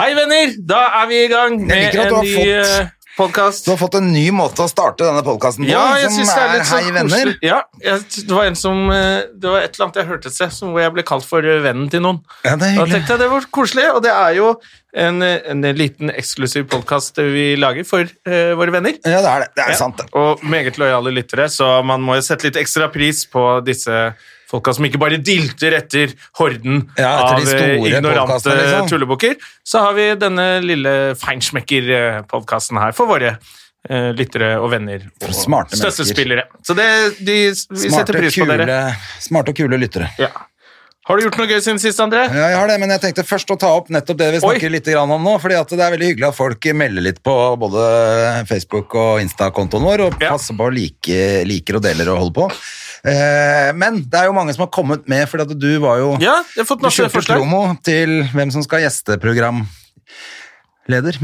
Hei, venner! Da er vi i gang med liker at du en har fått- ny podkast. Du har fått en ny måte å starte denne podkasten på, Ja, jeg som synes det er litt sånn Hei, venner. koselig. Ja, jeg, det var en som eh, Det var et eller annet jeg hørte et sted som hvor jeg ble kalt for eh, vennen til noen. Ja, det er Da hyggelig. tenkte jeg det var koselig, og det er jo en, eh, en liten eksklusiv podkast vi lager for eh, våre venner. Ja, det er det. Det er Ja, sant, det. Og meget lojale lyttere, så man må jo sette litt ekstra pris på disse folka som ikke bare dilter etter horden Ja, etter av de eh, store ignorante podcastene, liksom. tullebukker. Så har vi denne lille feinschmecker-podkasten her for våre eh, lyttere og venner og Smarte mennesker. støttespillere. Så det, de, vi Smarte, setter pris på kule, dere. smarte og kule lyttere. Ja. Har du gjort noe gøy siden sist, André? Ja, jeg har det, men jeg tenkte først å ta opp nettopp det vi snakker Oi. litt grann om nå. fordi at det er veldig hyggelig at folk melder litt på både Facebook- og Insta-kontoen vår, og Ja. passer på å like, liker og deler og holder på. Eh, men det er jo mange som har kommet med, fordi at du var jo Ja, jeg har fått Du masse kjørte forslag. promo til hvem som skal gjesteprogramleder,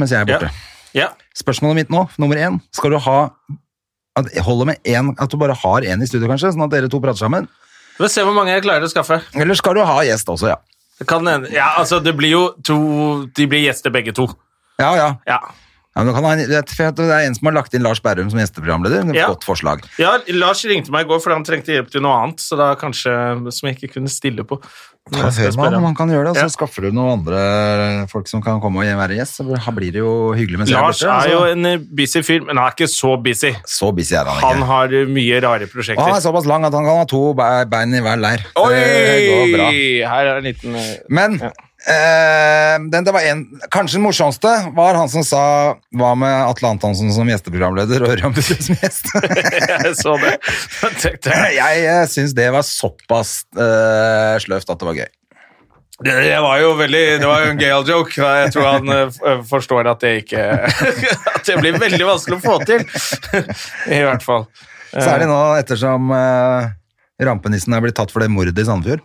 mens jeg er Ja. borte. Ja. Spørsmålet mitt nå, nummer én, skal du ha at, Holder med én, at du bare har én i studio, kanskje, sånn at dere to prater sammen? Vi får se hvor mange jeg klarer å skaffe. Eller skal du ha gjest også, ja? Det kan hende. Ja, altså, det blir jo to De blir gjester, begge to. Ja, ja. Ja. ja men du kan ha en, det er- for det er en som har lagt inn Lars Berrum som gjesteprogramleder. Det er et Ja. Godt forslag. Ja, Lars ringte meg i går fordi han trengte hjelp til noe annet, så da kanskje som jeg ikke kunne stille på. Men Ta jeg skal høyre med spørre han, ham. man kan gjøre det, og Ja. så skaffer du noen andre folk som kan komme og være gjest. Så her blir det jo hyggelig mens jeg Lars borte, er jo altså. en eh, busy fyr, men han er ikke så busy. Så busy er han ikke. Han har eh, mye rare Og han er prosjekter. såpass lang at han kan ha to be- bein i hver leir. Oi! Det går bra. Her er en liten eh, Men eh, den, det var en, kanskje den morsomste var han som sa hva med Atle Antonsen som gjesteprogramleder og Ørjan Busse som gjest. Jeg så det. Jeg tenkte, jeg uh, syns det var såpass eh, sløvt at det var gøy. Det det var jo veldig Det var jo en gøyal joke. da. Jeg tror han eh, f- eh, forstår at det ikke At det blir veldig vanskelig å få til. I hvert fall. Særlig nå ettersom eh, rampenissen er blitt tatt for det mordet i Sandefjord.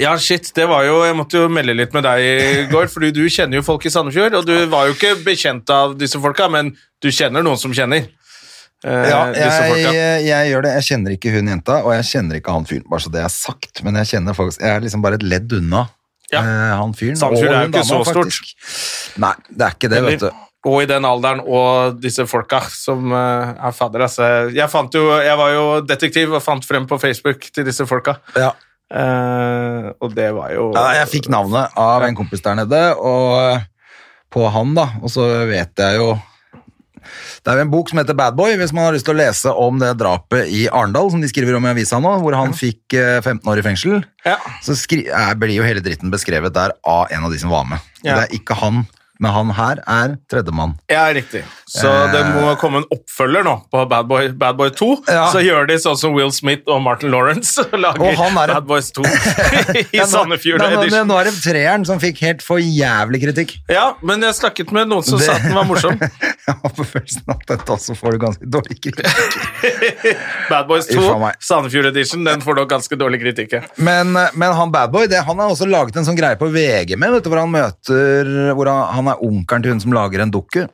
Ja, shit, det var jo, Jeg måtte jo melde litt med deg i går, fordi du kjenner jo folk i Sandefjord. Og du var jo ikke bekjent av disse folka, men du kjenner noen som kjenner. eh, Ja, disse jeg, folka. jeg, gjør det. Jeg kjenner ikke hun jenta, og jeg kjenner ikke han fyren, bare så det er sagt. Men jeg kjenner faktisk Jeg er liksom bare et ledd unna Ja. eh, han fyren. Sandefjord er og jo hun ikke dama, så stort. faktisk. Nei, det er ikke det, vet du. Og i den alderen og disse folka som eh, er fadder, altså. Jeg, fant jo, jeg var jo detektiv og fant frem på Facebook til disse folka. Ja. Eh, og det var jo Ja, jeg fikk navnet av en kompis der nede, og eh, på han da, og så vet jeg jo det er jo en bok som heter Bad Boy, hvis man har lyst til å lese om det drapet i Arendal, som de skriver om i avisa nå, hvor han fikk eh, 15 år i fengsel. Ja. Så skri eh, blir jo hele dritten beskrevet der av en av de som var med. Ja. Det er ikke han, men han her er tredjemann. Ja, riktig. Så Eh. det må komme en oppfølger nå på Bad Boy, Bad Boy 2. Ja. Så gjør de sånn som Will Smith og Martin Lawrence og lager Og han er- Bad Boys 2 i Ja, nå- Sandefjord Nei, nå- Edition. Nå er det treeren som fikk helt for jævlig kritikk. Ja, men jeg snakket med noen som Det- sa at den var morsom. Jeg har på følelsen at dette også får du ganske dårlig kritikk. Bad Boys 2, Uff a meg. Sandefjord Edition, den får nok ganske dårlig kritikk. ja. Men, eh, men han badboy, han har også laget en sånn greie på VG med, vet du, hvor han møter hvor han, han er onkelen til hun som lager en dukke.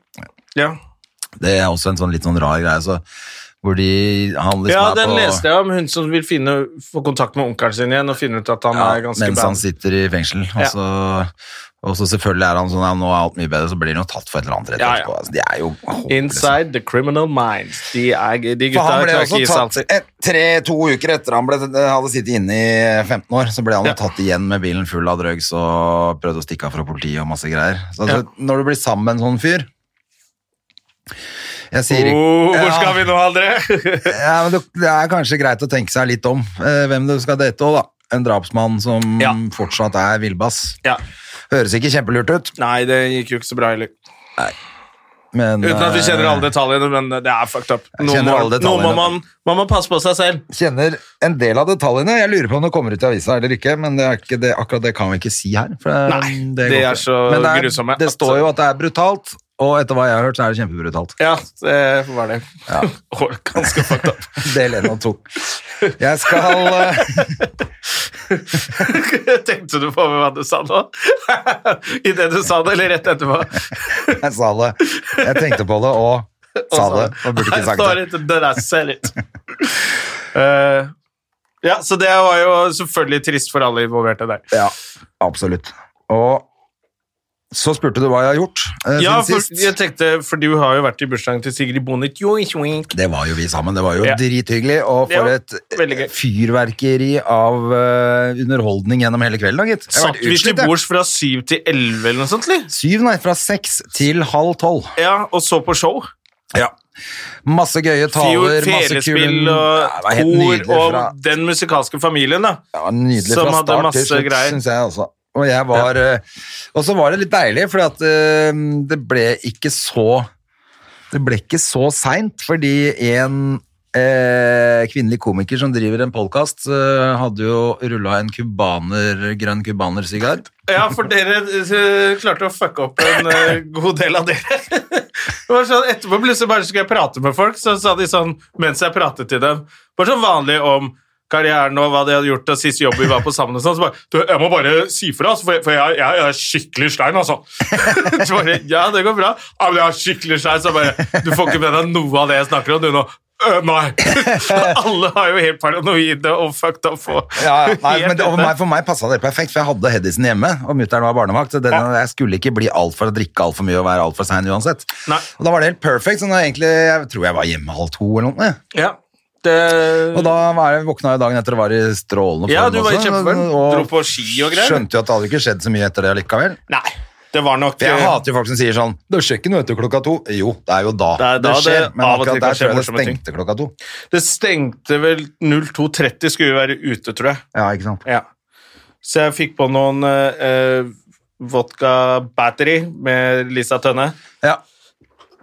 Ja, Det er også en sånn litt sånn rar greie, så, hvor de han liksom ja er den på, leste jeg om. Hun som vil finne, få kontakt med onkelen sin igjen og finne ut at han ja, er ganske mens han bad. sitter i fengsel. Og, Ja. så, og så selvfølgelig er han sånn ja, nå er alt mye bedre, så blir han jo tatt for et eller annet rett Ja, ja. etterpå. Altså, de er jo håpløse. Inside the criminal minds. De, er, de For gutta han ble klarer også ikke å gi seg tatt alltid. et, tre, to uker etter han ble, eh, hadde sittet inne i 15 år, så ble han jo Ja. tatt igjen med bilen full av drugs og prøvde å stikke av fra politiet og masse greier. Så altså, når du blir sammen med en sånn fyr jeg sier ikke, Oh, hvor skal Ja. vi nå, André? ja, men det, det er kanskje greit å tenke seg litt om eh, hvem du skal date òg, da. En drapsmann som Ja. fortsatt er villbass. ja. Høres ikke kjempelurt ut. Nei, det gikk jo ikke så bra heller. Men, eh, Uten at vi kjenner alle detaljene, men det er fucked up. Jeg Nå kjenner må, alle nå må detaljene. man, man må passe på seg selv. kjenner en del av detaljene. Jeg lurer på om det kommer ut i avisa eller ikke, men det er ikke det, akkurat det kan vi ikke si her. For det, Nei, går det er ikke. så Men det er, grusomme Det at- står jo at det er brutalt, og etter hva jeg har hørt, så er det kjempebrutalt. Ja, det var det. Ganske fucked up. Del én og to. Jeg skal eh, Tenkte du på hva du sa nå? I det du sa det, eller rett etterpå? Jeg sa det. Jeg tenkte på det og sa det. Og burde ikke sagt det. det. Det der ser ut. Eh, ja, så det var jo selvfølgelig trist for alle involverte der. Ja, absolutt. Og så spurte du hva jeg har gjort eh, Ja, for, siden sist. jeg tenkte, for du har jo vært i bursdagen til Sigrid Bonde Tjoink, tjoink. Det var jo vi sammen. Det var jo Ja. drithyggelig. Og Det var for et veldig gøy. fyrverkeri av eh, underholdning gjennom hele kvelden, da, gitt. Jeg har Satt vært vi til utslitt, jeg. bords fra syv til elleve eller noe sånt? eller? Syv, nei. Fra seks til halv tolv. Ja, og så på show. Masse gøye Fjord, taler, masse kule telespill og Ja, det var helt kor nydelig og fra, den musikalske familien, da. ja, nydelig som hadde fra start til masse slutt, greier. syns jeg også. Og, jeg var, eh, og så var det litt deilig, for at, eh, det ble ikke så Det ble ikke så seint, fordi en eh, kvinnelig komiker som driver en podkast, eh, hadde jo rulla en kubaner, grønn kubanersigar. Ja, for dere eh, klarte å fucke opp en eh, god del av dere. Det var sånn, etterpå plutselig bare skulle jeg prate med folk, så sa de sånn mens jeg pratet til dem Bare sånn vanlig om karrieren og hva de hadde gjort, og sist jobb vi var på sammen og sånn. Så bare du, Jeg må bare si fra, altså, for, for jeg, jeg, jeg er skikkelig stein, altså. Så bare Ja, det går bra. Ja, men jeg er skikkelig stein, så bare Du får ikke med deg noe av det jeg snakker om, du nå. «Øh, nei! Alle har jo helt paranoide og fucked up. Og Ja, ja. nei, men Helt det, over meg, for meg passa det perfekt, for jeg hadde Hedisen hjemme, og mutter'n var barnevakt, så den, jeg skulle ikke bli alt for å drikke altfor mye og være altfor sein uansett. Nei. Og da var det helt perfekt, så da egentlig, jeg tror jeg var hjemme halv to eller noe. jeg. Ja, det... Og da var jeg, våkna jeg dagen etter og var i strålende form Ja, du var i også, kjempeform. og Dro på ski og greier. Skjønte jo at det hadde ikke skjedd så mye etter det likevel. Nei, det var nok eh, For jeg hater jo folk som sier sånn Det skjer ikke noe etter klokka to. Jo, det er jo da Det er da skjer, det men av og til kan akkurat der tror jeg det skje morsomme ting. stengte klokka to. Det stengte vel 02.30 skulle vi være ute, tror jeg. Ja, ikke sant. Ja. Så jeg fikk på noen eh, eh, vodka battery med Lisa Tønne Ja.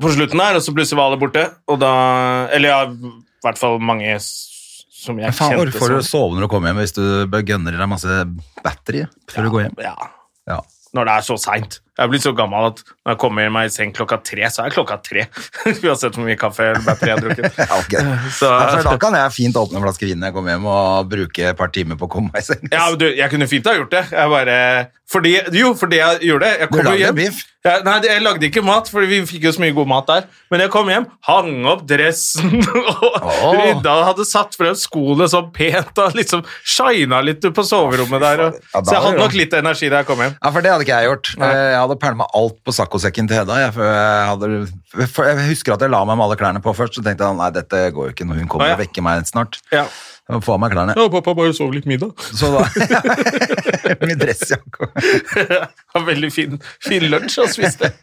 på slutten her, og så plutselig var alle borte. Og da Eller ja, i hvert fall mange s- som jeg Faen, kjente hvorfor får du som sove når du kommer hjem hvis du gønner i deg masse batteri før du går hjem? Ja, Ja. når det er så seint. Jeg er blitt så gammel at når jeg kommer meg i seng klokka tre, så er det klokka tre. Uansett hvor mye kaffe eller battery jeg har drukket. Ja, ok. Så- Ja, for da kan jeg fint åpne en flaske vin når jeg kommer hjem og bruke et par timer på å komme meg i seng. Ja, men du, jeg kunne fint ha gjort det. Jeg bare, fordi, jo, fordi jeg gjorde det. Jeg kom jo lagde hjem. biff? Ja, nei, det- jeg lagde ikke mat, for vi fikk jo så mye god mat der. Men jeg kom hjem, hang opp dressen og Åh. rydda. Hadde satt frem skoene så pent og liksom shina litt på soverommet der. Og, Ja, da så jeg var det hadde nok bra. litt energi da jeg kom hjem. Ja, for det hadde ikke jeg gjort. Nei. Eh, Jeg hadde pælma alt på saccosekken til Hedda. Jeg, for jeg, hadde, for jeg husker at jeg la meg med alle klærne på først, så tenkte jeg nei, dette går jo ikke når hun kommer Å, ja. og vekker meg snart. Ja. Jeg må få av meg klærne. Ja, pappa bare sov litt middag. Så da Med dressjakke og Har veldig fin, fin lunsj og spiste.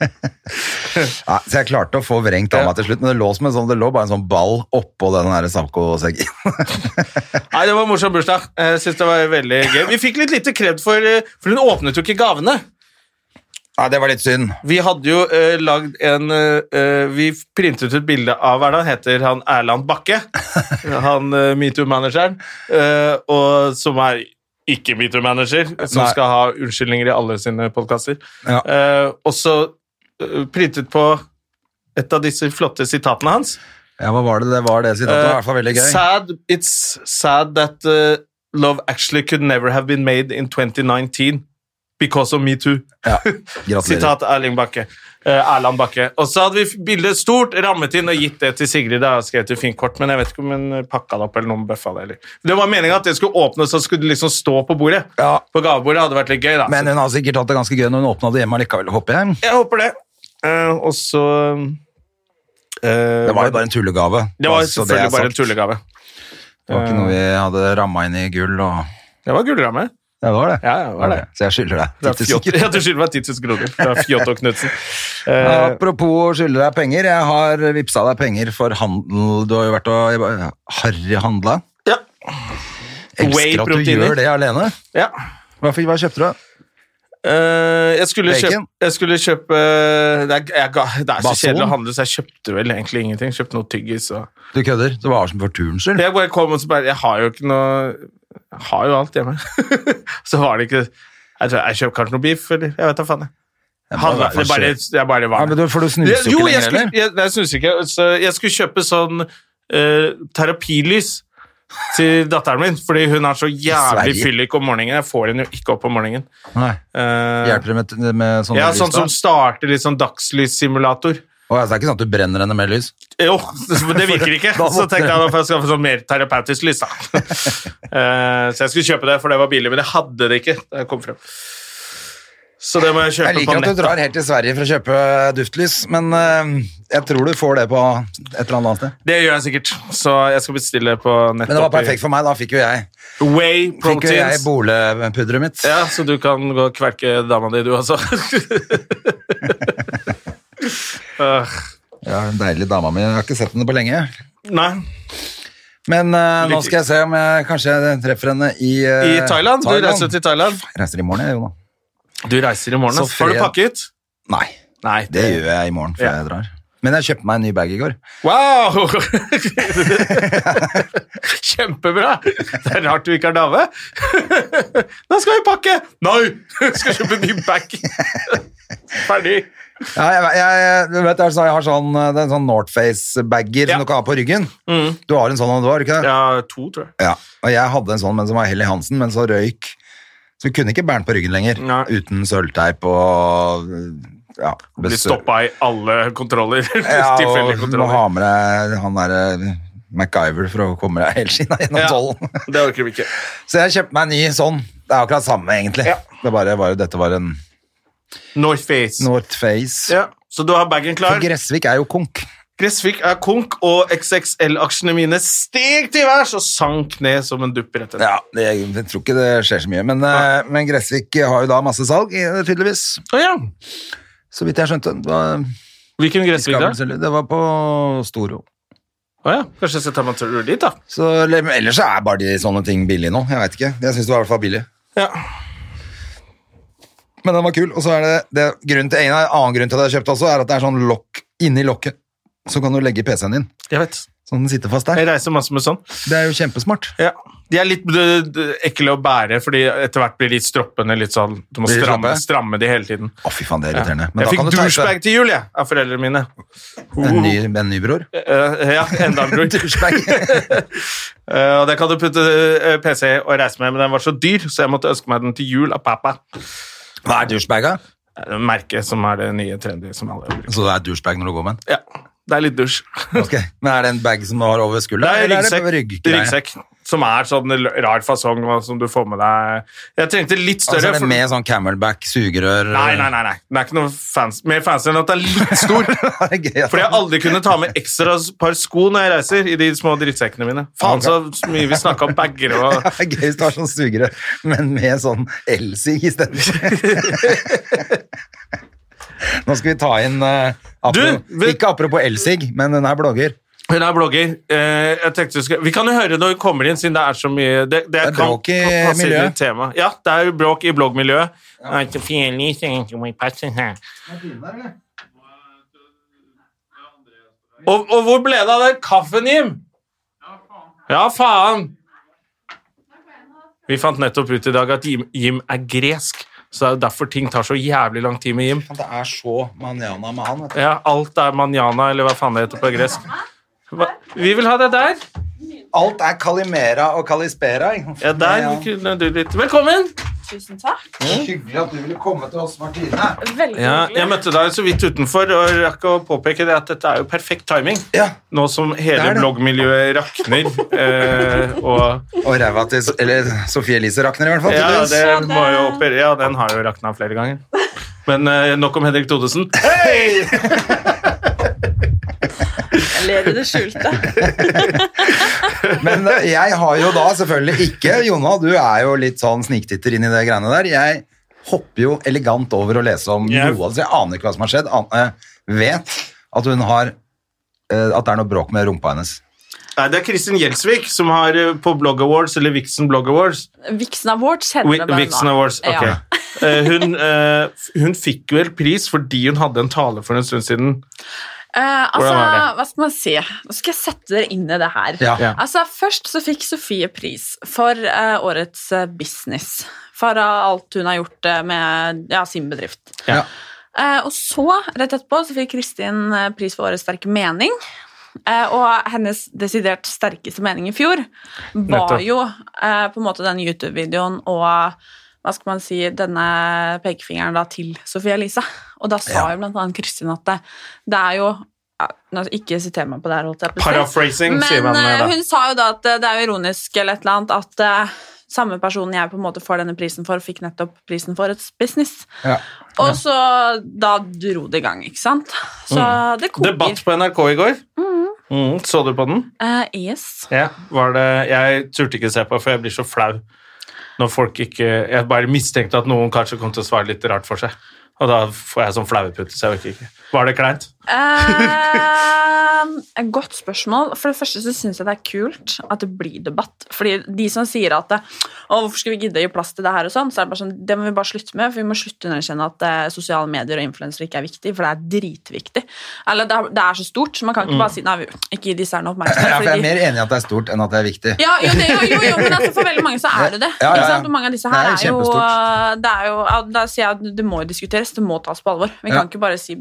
ja, Så jeg klarte å få vrengt av meg til slutt, men det lå, som en sånn, det lå bare en sånn ball oppå den der saccosekken. Nei, det var en morsom bursdag. Jeg synes det var veldig gøy. Vi fikk litt lite kred for, eh, for hun åpnet jo ikke gavene. Ja, det var litt synd. Vi hadde jo eh, lagd en eh, eh, Vi printet ut bilde av hva er det han heter han Erland Bakke. Han eh, metoo-manageren. eh, og som er ikke metoo-manager, som Nei. skal ha unnskyldninger i alle sine podkaster. Ja. og så eh, printet på et av disse flotte sitatene hans. Ja, hva var det? Det var det sitatet. Det var i hvert fall veldig Eh, gøy. sad, it's sad that eh, love actually could never have been made in 2019 because of metoo. Ja, gratulerer. Sitat Erling Bakke. Eh, Erland Bakke. Og så hadde vi bildet stort, rammet inn og gitt det til Sigrid. Da og skrevet et fint kort, men jeg vet ikke om hun pakka det opp eller noen bøffa det. Eller. Det var meningen at det skulle åpnes og skulle liksom stå på bordet. Ja. På gavebordet hadde vært litt gøy, da. Men hun har sikkert hatt det ganske gøy når hun åpna det hjemme likevel, håper jeg. jeg håper det. Eh, og så eh, Det var jo bare en tullegave. Det var så det er selvfølgelig bare en sagt. tullegave. Det var ikke Eh. noe vi hadde ramma inn i gull og Det var gullramme. Ja, det var det. Ja, det var det. Så jeg skylder deg. Fra Litt Fjott- sikkert. Ja, Du skylder meg 10 000 kroner fra Fjott og Knutsen. Eh, Apropos å skylde deg penger, jeg har vippsa deg penger for handel. Du har jo vært og harryhandla. ja. Elsker at du Whey-proteiner. gjør det alene. ja. Hva, fikk- hva kjøpte du? Eh, jeg, skulle Bacon? kjøpe, jeg skulle kjøpe eh, det er, jeg, ga- det er så Bason? kjedelig å handle, så jeg kjøpte vel egentlig ingenting. Kjøpte noe tyggis. Og. Du kødder? Det var Arsenal for turens skyld. Jeg bare kom og så bare Jeg har jo ikke noe Jeg har jo alt hjemme. så var det ikke Jeg, tror, jeg kjøpte kanskje noe beef, eller jeg vet da faen. jeg. Det må Handla, være det bare, skjønt. jeg bare var Ja, men du, for du snuser Jeg- jo ikke jeg lenger, skulle, heller. jeg, nei, jeg snuser ikke. Så jeg skulle kjøpe sånn eh, terapilys til datteren min, fordi hun har så jævlig Sverige. fyllik om morgenen. Jeg får henne jo ikke opp om morgenen. Nei. Eh, Hjelper det med, med sånne ja, lys, sånn da? som starter litt sånn dagslyssimulator. Å, ja, så det er ikke sånn at du brenner henne med lys? Jo, men det virker ikke. Da måtte Så tenkte jeg da får jeg skaffe sånn mer terapeutisk lys, da. Eh, så jeg skulle kjøpe det, for det var billig, men jeg hadde det ikke da jeg kom frem. Så det må jeg Jeg kjøpe på liker at du nett. drar helt til Sverige for å kjøpe duftlys, men eh, jeg tror du får det på et eller annet sted. Det gjør jeg sikkert. Så jeg skal bestille på nett. Men det var oppi- perfekt for meg, da fikk jo jeg, Whey fikk jo jeg proteins. bolepudderet mitt. Ja, så du kan gå og kverke dama di, du også. Øh, Ja, den deilige dama mi. Jeg har ikke sett henne på lenge. nei. Men eh, nå Lykke- skal jeg se om jeg kanskje treffer henne i I eh, Thailand. Du reiser til Thailand. Jeg reiser i morgen, jeg, Jona. Du reiser i morgen. Så ass. Har du fred- pakket? Nei, Nei. det gjør jeg i morgen før Ja. jeg drar. Men jeg kjøpte meg en ny bag i går. Wow! Kjempebra! Det er rart du ikke har dame. Da skal vi pakke! Nei! Skal kjøpe ny bag. Ferdig. Ja, jeg, jeg, du vet, altså, jeg har sånn, eh, det er en sånn Northface-bagger Ja. Mm. som du kan ha på ryggen. Du har en sånn, og du har ikke det? Ja, to, tror jeg. Ja, og jeg hadde en sånn men som var Helly Hansen, men så røyk. Så vi kunne ikke bære den på ryggen lenger, Nei. uten sølvteip og eh, ja, Blir besø- stoppa i alle kontroller. Ja, Tilfeldige og du må kontroller. ha med deg han derre MacGyver for å komme deg helskinna gjennom Ja. tollen. Det orker vi ikke. Så jeg kjøpte meg en ny sånn. Det er akkurat samme, egentlig. Ja. Det bare var jo dette var en Northface. Northface. Ja, så du har bagen For klar. Gressvik er jo konk. Gressvik er konk, og XXL-aksjene mine steg til værs og sank ned som en dupp rett etter. Ja, det, jeg tror ikke det skjer så mye, men, eh, men Gressvik har jo da masse salg, eh, tydeligvis. Å ja. Så vidt jeg skjønte. Det var, Hvilken Gressvik da? Skavelsel- det var på Storo. Å ja. Kanskje jeg skal ta meg en tur dit, da. Så, eller- men ellers så er bare de sånne ting billige nå. Jeg vet ikke. Jeg syns det var i hvert fall billig. Ja. Men den var kul. Og så er det, det grunnen til, en annen grunn til at jeg har kjøpt også, er at det er sånn lokk inni lokket. Så kan du legge PC-en din, Jeg vet. så den sitter fast der. Jeg reiser masse med sånn. Det er jo kjempesmart. Ja. De er litt d- d- ekle å bære, fordi etter hvert blir de stroppene litt sånn Du må Blir de stramme, slappe? stramme de hele tiden. Å, fy faen, det er irriterende. Men jeg da fikk kan du douchebag teipe til jul, jeg, av foreldrene mine. Uh, en ny, en ny bror. Eh, ja, enda en bror. Douchebag. Eh, og den kan du putte eh, PC og reise med, men den var så dyr, så jeg måtte ønske meg den til jul av pappa. Hva er douchebag, da? Det er jo merket som er det nye trendy som alle bruker. Så det er douchebag når du går med den? Ja, det er litt dusj. Ok. Men er det en bag som du har over Det skulderen? er eller ryggsekk. det ryggreie? ryggsekk som er sånn l- rar fasong og som du får med deg. Jeg trengte litt Altså større. er det for- med sånn camelback, sugerør Nei, nei, nei. nei. Den er ikke noe fans, mer fancy enn at den er litt stor. Det er gøy altså. at- Fordi jeg aldri kunne ta med ekstra s- par sko når jeg reiser, i de små drittsekkene mine. Faen så mye vi snakka om bager og Det er gøy hvis du har sånn sugerør, men med sånn elsig i stedet. Nå skal vi ta inn eh, apro- Du, vi- Ikke apropos elsig, men hun er blogger. Hun er blogger. Eh, jeg tenkte vi, skulle, vi kan jo høre når vi kommer inn, siden det er så mye Det, det, er kan- bråk i kan passe inn miljøet. i temaet. Ja, det er jo bråk i bloggmiljøet. Det er ikke fjellig, så jeg ikke må passe her. Og, og hvor ble det av den kaffen, Jim? Ja, faen. Vi fant nettopp ut i dag at Jim, Jim er gresk, så det er jo derfor ting tar så jævlig lang tid med Jim. Det er så manjana med han. vet du. Ja, alt er manjana, eller hva faen det heter på gresk. Hva? Vi vil ha det der. Alt er kalimera og kalispera. ikke sant? Ja, der Ja. kunne du litt. Velkommen! Tusen takk. Hyggelig at du ville komme til oss, Martine. Veldig Ja, jeg hyggelig. møtte deg så vidt utenfor og rakk å påpeke det at dette er jo perfekt timing. Ja, Nå som Det hele er det. bloggmiljøet rakner. Eh, og Og ræva til Eller Sofie Elise rakner, i hvert fall. ja, tydeligvis. det må jo oppere. Ja, den har jo rakna flere ganger. Men eh, nok om Henrik Thodesen. Hei! Jeg ler i det skjulte. Men eh, jeg har jo da selvfølgelig ikke Jona, du er jo litt sånn sniktitter inn i det greiene der. Jeg hopper jo elegant over å lese om Jeg- noe av det, så jeg aner ikke hva som har skjedd. An eh, vet at hun har eh, At det er noe bråk med rumpa hennes. Nei, det er Kristin Gjelsvik som har eh, på Blog Awards, eller Vixen Blog Awards Vixen Awards kjenner Wi- jeg bare da. Vixen Awards, ok. Ja. Eh, hun, eh, hun fikk vel pris fordi hun hadde en tale for en stund siden. Eh, altså, Hvordan var hva skal man si? Nå skal jeg sette dere inn i det her. Ja. Ja. Altså, først så fikk Sofie pris for eh, årets eh, business. For eh, alt hun har gjort eh, med ja, sin bedrift. Ja. Eh, og så, rett etterpå, så fikk Kristin eh, pris for årets sterke mening. Eh, og hennes desidert sterkeste mening i fjor var Nettopp. jo eh, på en måte den YouTube-videoen og hva skal man si, denne pekefingeren da til Sofie Elise. Og da sa jo blant annet Kristin at det, det er jo ja, nå- Ikke siter meg på det her, holdt jeg på å si. Paraphrasing, Men sier man eh, eh, da. hun sa jo da at eh, det er jo ironisk eller et eller annet at eh, samme personen jeg på en måte får denne prisen for, fikk nettopp prisen for et business. Ja. Og så da dro det i gang, ikke sant? Så det koker. Mm. Debatt på NRK i går. Mm, så du på den? Eh, yes. Ja, var det, jeg turte ikke se på, for jeg blir så flau når folk ikke Jeg bare mistenkte at noen kanskje kom til å svare litt rart for seg. Og da får jeg sånn flaueputte, så jeg orker ikke. Var det kleint? Eh, et godt spørsmål. For det første så syns jeg det er kult at det blir debatt. Fordi de som sier at det, å, hvorfor skal vi gidde å gi plass til det her og sånn, så er det bare sånn, det må vi bare slutte med. For vi må slutte å underkjenne at eh, sosiale medier og influensere ikke er viktig, for det er dritviktig. Eller det er, det er så stort, så man kan ikke bare si nei, vi- ikke gi disse her noe Mm. Ja, for jeg er oppmerksomhet. fordi de- mer enig i at det er stort enn at det er viktig. ja, jo, det, jo, jo, jo, men altså, for veldig mange så er det det. Ja, ja, ja. Ikke sant? Og mange av disse her Det er er jo, eh, kjempestort. det er jo ja, Da sier jeg at det må diskuteres, det må tas på alvor. Vi Ja. kan ikke bare si,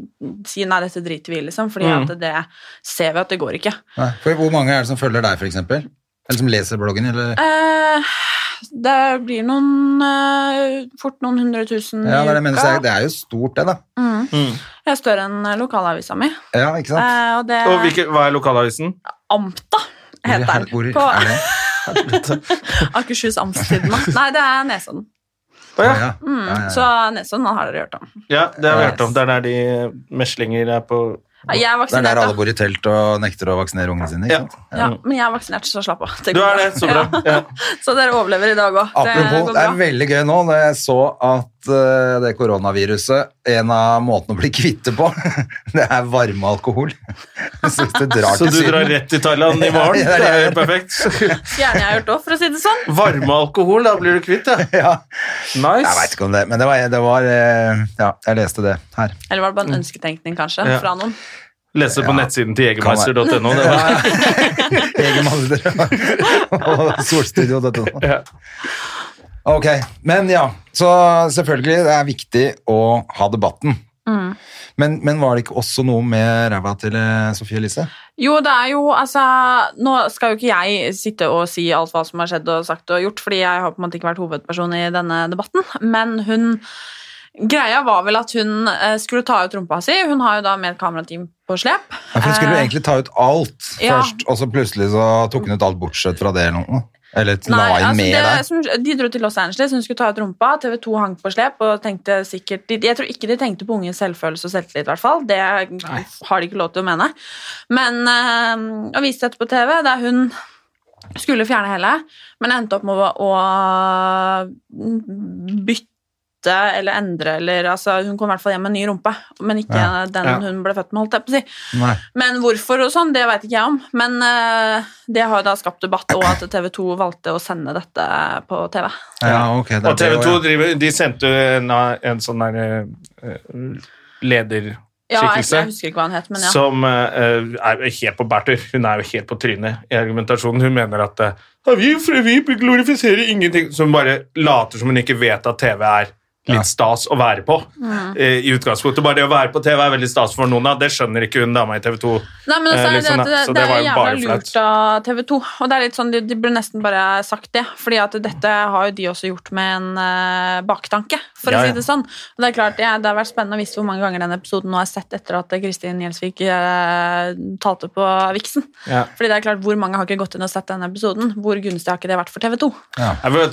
si nei, dette driter vi i, liksom, fordi Mm. at det ser vi at det går ikke. Nei, For hvor mange er det som følger deg, for eksempel? Eller som leser bloggen, eller? Eh, det blir noen eh, fort noen hundre tusen Ja, det er det jeg mener, så er- i uka. det er jo stort det, da. Jeg er større enn lokalavisa mi. Ja, ikke sant? Eh, og det Og hvilke, hva er lokalavisen? Amta Eh, heter Hvor den. er hvor er På det? Akershus Amtstidende. Nei, det er Nesodden. Å ja. Ja, Mm. ja, ja. Så Nesodden har dere hørt om. ja, det har vi hørt om. Det er der de meslinger er på Ja, Jeg Det er er vaksinert, der alle da. bor i telt og nekter å vaksinere ungene sine, ikke Ja. sant? Ja, men jeg er vaksinert, så slapp av. Det Du går er det, så bra. Ja. bra. Så dere overlever i dag òg. Apropos, det er veldig gøy nå når jeg så at eh, det koronaviruset En av måtene å bli kvitt det på, det er varme alkohol. Så hvis du drar Så til du drar Syden rett til Thailand i morgen? Ja, Det det er det er jeg jo perfekt. Gjerne jeg har gjort òg, for å si det sånn. Varme alkohol, da blir du kvitt det. ja, Jeg veit Nice. ikke om det, men det var, det var eh, Ja, jeg leste det her. Eller var det bare en ønsketenkning, kanskje? Mm. Ja. Fra noen. Lese på Ja. nettsiden til jegermeister.no. det var- Egen og solstudio. Dette, nå. Ja. Ok, men ja, så selvfølgelig det er viktig å ha debatten. Men, men var det ikke også noe med ræva til eh, Sofie Elise? Jo, det er jo altså Nå skal jo ikke jeg sitte og si alt hva som har skjedd og sagt og gjort, fordi jeg har på en måte ikke vært hovedperson i denne debatten, men hun Greia var vel at hun eh, skulle ta ut rumpa si. Hun har jo da med et kamerateam på slep. Ja, for hun skulle jo Eh, egentlig ta ut alt ja. først, og så plutselig så tok hun ut alt bortsett fra det eller noe. Eller la Nei, inn altså mer det, der. som, De dro til Los Angeles, hun skulle ta ut rumpa. TV 2 hang på slep. og tenkte sikkert, de, Jeg tror ikke de tenkte på unges selvfølelse og selvtillit, i hvert fall. Det har de ikke lov til å mene. Men øh, Og viste dette på TV, der hun skulle fjerne hele, men endte opp med å, å mm, bytte eller endre eller altså, Hun kom i hvert fall hjem med en ny rumpe, men ikke Ja, den ja. hun ble født med, holdt jeg på å si. Nei. Men hvorfor og sånn, det vet ikke jeg om. Men eh, det har jo da skapt debatt, og at TV 2 valgte å sende dette på TV. Ja, ok. det er Og TV det 2 også, ja. driver, de sendte en, en sånn der eh, Ja, jeg, lederskikkelse jeg husker ikke hva han het, men ja. som eh, er jo helt på bærtur. Hun er jo helt på trynet i argumentasjonen. Hun mener at eh, «Ja, vi, vi glorifiserer ingenting. Så hun bare later som hun ikke vet at TV er Ja. litt stas å være på. Mm. eh, I utgangspunktet. Bare det å være på TV er veldig stas for noen. da. Det skjønner ikke hun dama i TV 2. Nei, men også eh, er det, liksom, at det, da. Så det det var er jo jævla bare lurt flaut. av TV 2. Og det er litt sånn, de, de burde nesten bare sagt det. fordi at dette har jo de også gjort med en eh, baktanke, for Ja, å ja. si det sånn. Og det er klart, ja, det har vært spennende å vise hvor mange ganger den episoden nå er sett etter at Kristin Gjelsvik eh, talte på Vixen. Ja. Fordi det er klart, hvor mange har ikke gått inn og sett den episoden? Hvor gunstig har ikke det vært for TV 2?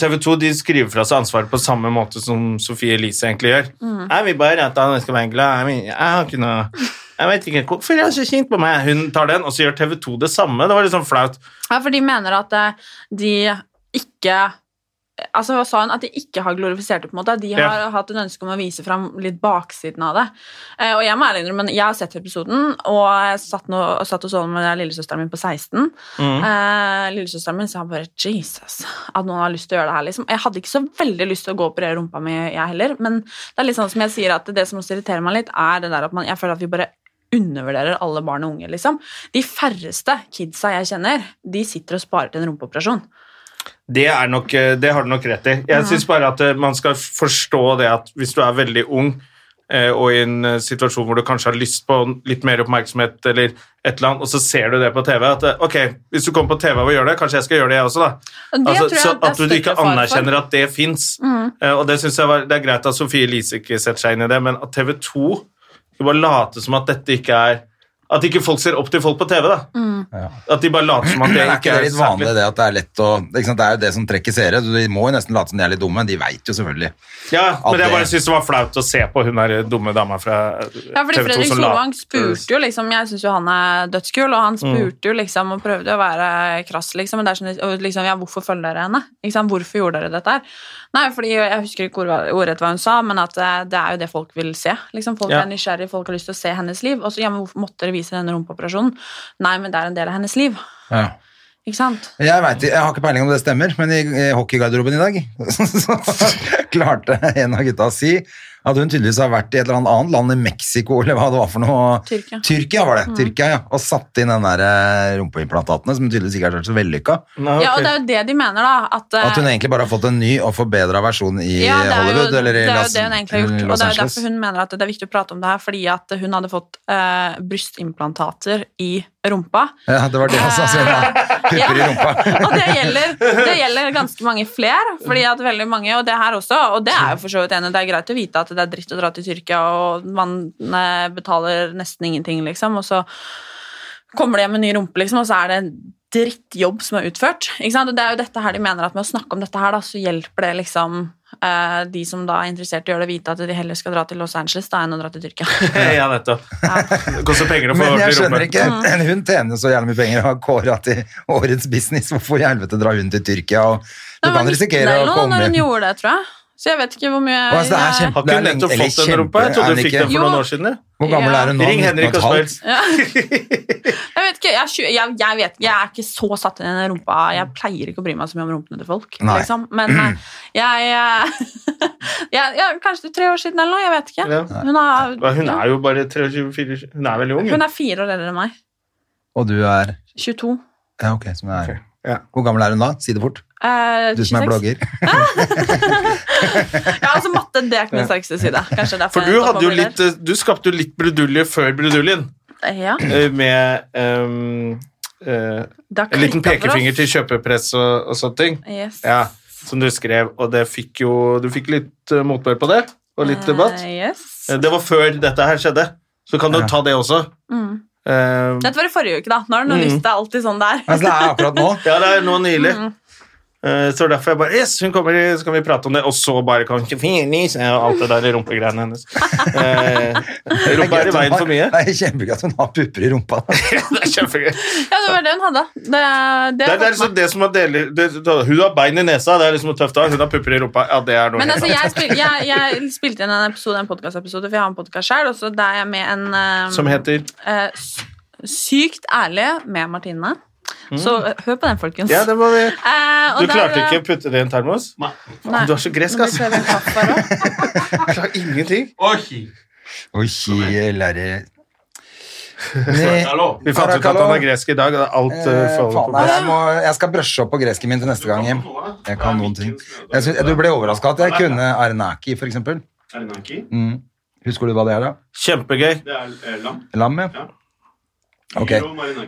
TV 2 de skriver fra seg ansvaret på samme måte som Sofie Elise egentlig gjør. Jeg vil bare at han skal være glad. Jeg, vil- jeg har ikke noe Jeg vet ikke hvorfor jeg er så kjent på meg. Hun tar den, og så gjør TV 2 det samme. Det var litt sånn flaut. Ja, for de mener at eh, de ikke altså hva sa hun at de ikke har glorifisert det, på en måte. De har Ja. hatt en ønske om å vise fram litt baksiden av det. Eh, og jeg må ærlig innrømme, jeg har sett episoden, og jeg satt, nå, og satt og så den med lillesøsteren min på 16. Mm. Eh, lillesøsteren min sa bare 'Jesus, at noen har lyst til å gjøre det her', liksom. Jeg hadde ikke så veldig lyst til å gå og operere rumpa mi, jeg heller, men det er litt sånn som jeg sier at det som også irriterer meg litt, er det der at man, jeg føler at vi bare undervurderer alle barn og unge, liksom. De færreste kidsa jeg kjenner, de sitter og sparer til en rumpeoperasjon. Det, er nok, eh, det har du nok rett i. Jeg synes syns bare at eh, man skal forstå det at hvis du er veldig ung eh, og i en eh, situasjon hvor du kanskje har lyst på litt mer oppmerksomhet, eller et eller annet, og så ser du det på TV at eh, ok, hvis du kommer på TV og gjør det, kanskje jeg skal gjøre det, jeg også, da. Og det tror Altså, jeg så det er at du ikke større fare for. Mm. anerkjenner at det fins. Og det synes jeg var, det er greit at Sofie Elise ikke setter seg inn i det, men at TV 2 bare later som at dette ikke er At ikke folk ser opp til folk på TV, da. Mm. At de bare later som at det Men ikke er ikke det er litt vanlig det at det er lett å ikke sant? Det er jo det som trekker seere. så De må jo nesten late som de er litt dumme. De veit jo selvfølgelig. Ja, At men jeg det- bare synes det var flaut å se på hun der dumme dama fra Ja, fordi TV 2 Fredrik som Mm. Solvang la- spurte jo liksom Jeg syns jo han er dødskul, og han spurte jo liksom og prøvde å være krass, liksom. Men det er sånn, og liksom, ja, hvorfor følger dere henne? Ikke sant? Hvorfor gjorde dere dette her? Nei, fordi jeg husker ikke ord- ordrett hva hun sa, men at eh, det er jo det folk vil se. Liksom, folk Ja. er nysgjerrige, folk har lyst til å se hennes liv. Og så, ja, men hvorfor måtte dere vise denne rumpeoperasjonen? Nei, men det er en del av hennes liv. Ja. Ikke sant? Jeg, vet, jeg har ikke peiling om det stemmer, men i, i hockeygarderoben i dag så klarte en av gutta å si at hun tydeligvis har vært i et eller annet annet land, i Mexico eller hva det var for noe. Tyrkia. Mm. var det. Tyrkia, ja. Og satt inn den der eh, rumpeimplantatene, som tydeligvis ikke har vært så vellykka. Nei, ok. Ja, og det er jo det de mener, da. At, eh, At hun egentlig bare har fått en ny og forbedra versjon i Ja, det er jo- Hollywood eller i det er jo Las, det hun egentlig har gjort, eller og Los det er jo Angeles. derfor hun mener at det er viktig å prate om det her, fordi at hun hadde fått eh, brystimplantater i rumpa. Ja, det var det også. Altså, ja. Pupper i rumpa. og det gjelder, det gjelder ganske mange flere, fordi at veldig mange, og det her også, og det er jo for så vidt enig, det er greit å vite at det er dritt å dra til Tyrkia, og man eh, betaler nesten ingenting, liksom, og så kommer det hjem en ny rumpe, liksom, og så er det en drittjobb som er utført, ikke sant? Og det er jo dette her de mener at med å snakke om dette her, da, så hjelper det liksom eh, de som da er interessert i å gjøre det, vite at de heller skal dra til Los Angeles da enn å dra til Tyrkia. Ja, nettopp. Det koster penger å få Men jeg ordentlig skjønner rumpe. ikke. Hun tjener jo så jævlig mye penger og har kåra til årets business. Hvorfor i helvete drar hun til Tyrkia? Og du Det var kan 19 risikere eller å noe komme når hun hjem. gjorde det, tror jeg. Så jeg vet ikke hvor mye... Altså, det er kjempe- Har Det ikke er hun nettopp lenge- fått en eller rumpe? Jeg trodde kjempe- du fikk den for Jo. noen år siden. ja. Hvor gammel Ja. er hun nå? Ring Henrik 19,5? og spør. Jeg vet ikke, jeg, er tjue- jeg, jeg, vet, ikke, jeg er ikke så satt inn i den rumpa. Jeg pleier ikke å bry meg så mye om rumpene til folk. Nei. Liksom. Men eh, jeg, jeg, jeg, jeg Kanskje tre år siden eller noe. Jeg vet ikke. Ja. Hun, er, Hva, Hun er jo bare 23-24 Hun er veldig ung. hun er fire år eldre enn meg. Og du er 22. Ja, ok. Som er. Ja. Hvor gammel er hun da? Si det fort. Eh, Du som 26. er blogger. Ja, altså matte det er ikke min sterkeste side. Kanskje derfor For jeg du, endte opp hadde jo med litt, briller. eh, du skapte jo litt brudulje før bruduljen Eh, Ja, eh, med ehm, eh, da en liten klikket for oss. pekefinger til kjøpepress og, og sånne ting. Yes. Ja, som du skrev, og det fikk jo Du fikk litt eh, motbør på det, og litt debatt. Eh, yes. Eh, Det var før dette her skjedde. Så kan du Ja. ta det også. Mm. Eh, Dette var i forrige uke, da. Nå er Mm. det noe nytt. Det er alltid sånn det er. Altså, det er akkurat nå. ja, det er nå nylig. Mm. Eh, Så derfor jeg bare Yes, hun kommer, i- så kan vi prate om det. Og så bare kan hun ikke finnes eh, Og alt det der i rumpegreiene hennes. Eh, Det Rumpa er i veien for mye. Det er kjempegøy at hun har pupper i rumpa. Det er kjempegøy. Ja, det var det hun hadde. Det, det, Det har er, det er fått meg. liksom det som er deler det, det- Hun har bein i nesa, det er liksom noe tøft da. Hun har pupper i rumpa. Ja, det er noe Men helt altså, annet. jeg, spil, jeg, jeg spilte inn en episode, en podcastepisode, for jeg har en podcast selv, og så der er jeg med en eh, Som heter eh, s- Sykt ærlig med Martine. Så eh, hør på den, folkens. Mm. Ja, det må vi Eh, og Du der, klarte eh, ikke å putte det i en termos? Nei. Nei. Du er så gresk, Nå ass. blir det vel kaffe her også. Jeg klarer ingenting. Oi, kjelere. Nei, Vi fant ut at han er gresk i dag. og Det er alt eh, Eh, faller på faen, nei, jeg, må, jeg skal brushe opp på gresken min til neste gang hjem. Jeg kan noen ting. Jeg synes, du ble overraska at jeg kunne Arenaki, for eksempel. Mm. Husker du hva det er, da? Kjempegøy. Lam, ja. Ok.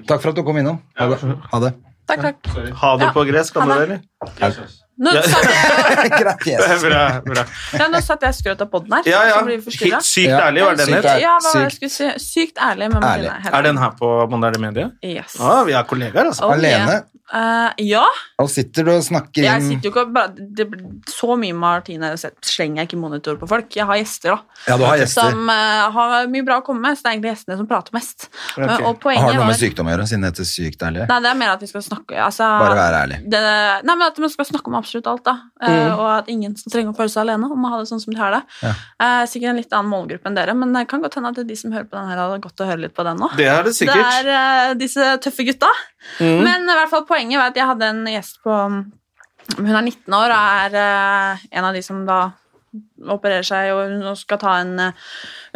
Takk for at du kom innom. Ha det. Ha det. Takk, takk. Ha det Ja. på gress, kan Ha du det, det. eller? Nå satt jeg, Greit, yes. Bra, bra. ja, nå satt jeg skrøt av podden her, Ja, ja. så blir vi Helt forstyrret. Sykt Ja. ærlig var den Sykt het. ærlig. Ja, hva var det jeg Sykt. skulle si? Sykt ærlig med Martine. Ærlig. Helt- Er den her på Moderne Media? Yes. Ja, vi er kollegaer, altså. Oh, yeah. Alene. Eh, ja. Og sitter du og snakker Jeg inn sitter jo ikke og bare, det, Så mye Martine slenger jeg ikke monitor på folk. Jeg har gjester, da. Ja, du har gjester. Som eh, har mye bra å komme med, så det er egentlig gjestene som prater mest. Men- Ok. og poenget Har det noe var- med sykdom å gjøre, siden det heter Sykt ærlig? Nei, det er mer at vi skal snakke altså, Bare være ærlig. Det, nei, men at man skal snakke om absolutt alt, da. Eh, Mm. og at ingen skal trenge å føle seg alene om å ha det sånn som de har det. Eh, sikkert en litt annen målgruppe enn dere, men det kan godt hende at de som hører på den her, hadde godt å høre litt på den nå. Det er det Det sikkert. er eh, disse tøffe gutta. Mm. Men i hvert fall poenget var at jeg hadde en gjest på Hun er 19 år og er eh, en av de som da opererer seg og hun skal ta en eh,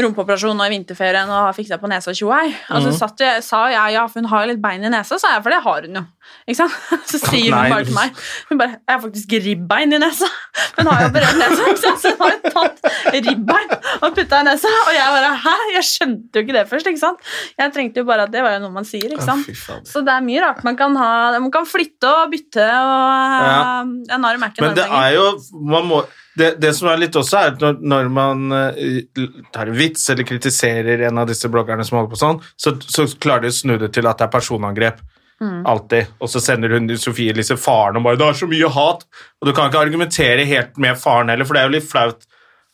rumpeoperasjon nå i vinterferien og har fiksa på nesa og tjo ei. Og så Mhm. satt jeg, sa jeg ja, for hun har jo litt bein i nesa, sa jeg, for det har hun jo. Ikke sant? Så sier Nei. hun bare til meg Hun bare Jeg har faktisk ribbein i nesa. Hun har jo operert nesa, ikke sant? så hun har jo tatt ribbein og putta i nesa. Og jeg bare Hæ? Jeg skjønte jo ikke det først, ikke sant? Jeg trengte jo bare at det var jo noe man sier, ikke sant? Fy fader. Så det er mye rart man kan ha. Man kan flytte og bytte og Ja. eh, En arm er ikke en Men det armlenge. er jo man må, det, det som er litt også, er at når, når man eh, tar en vits eller kritiserer en av disse bloggerne som holder på sånn, så, så klarer de å snu det til at det er personangrep. Mm. Alltid. Og så sender hun Sofie Elise faren og bare 'Det er så mye hat!' Og du kan ikke argumentere helt med faren heller, for det er jo litt flaut.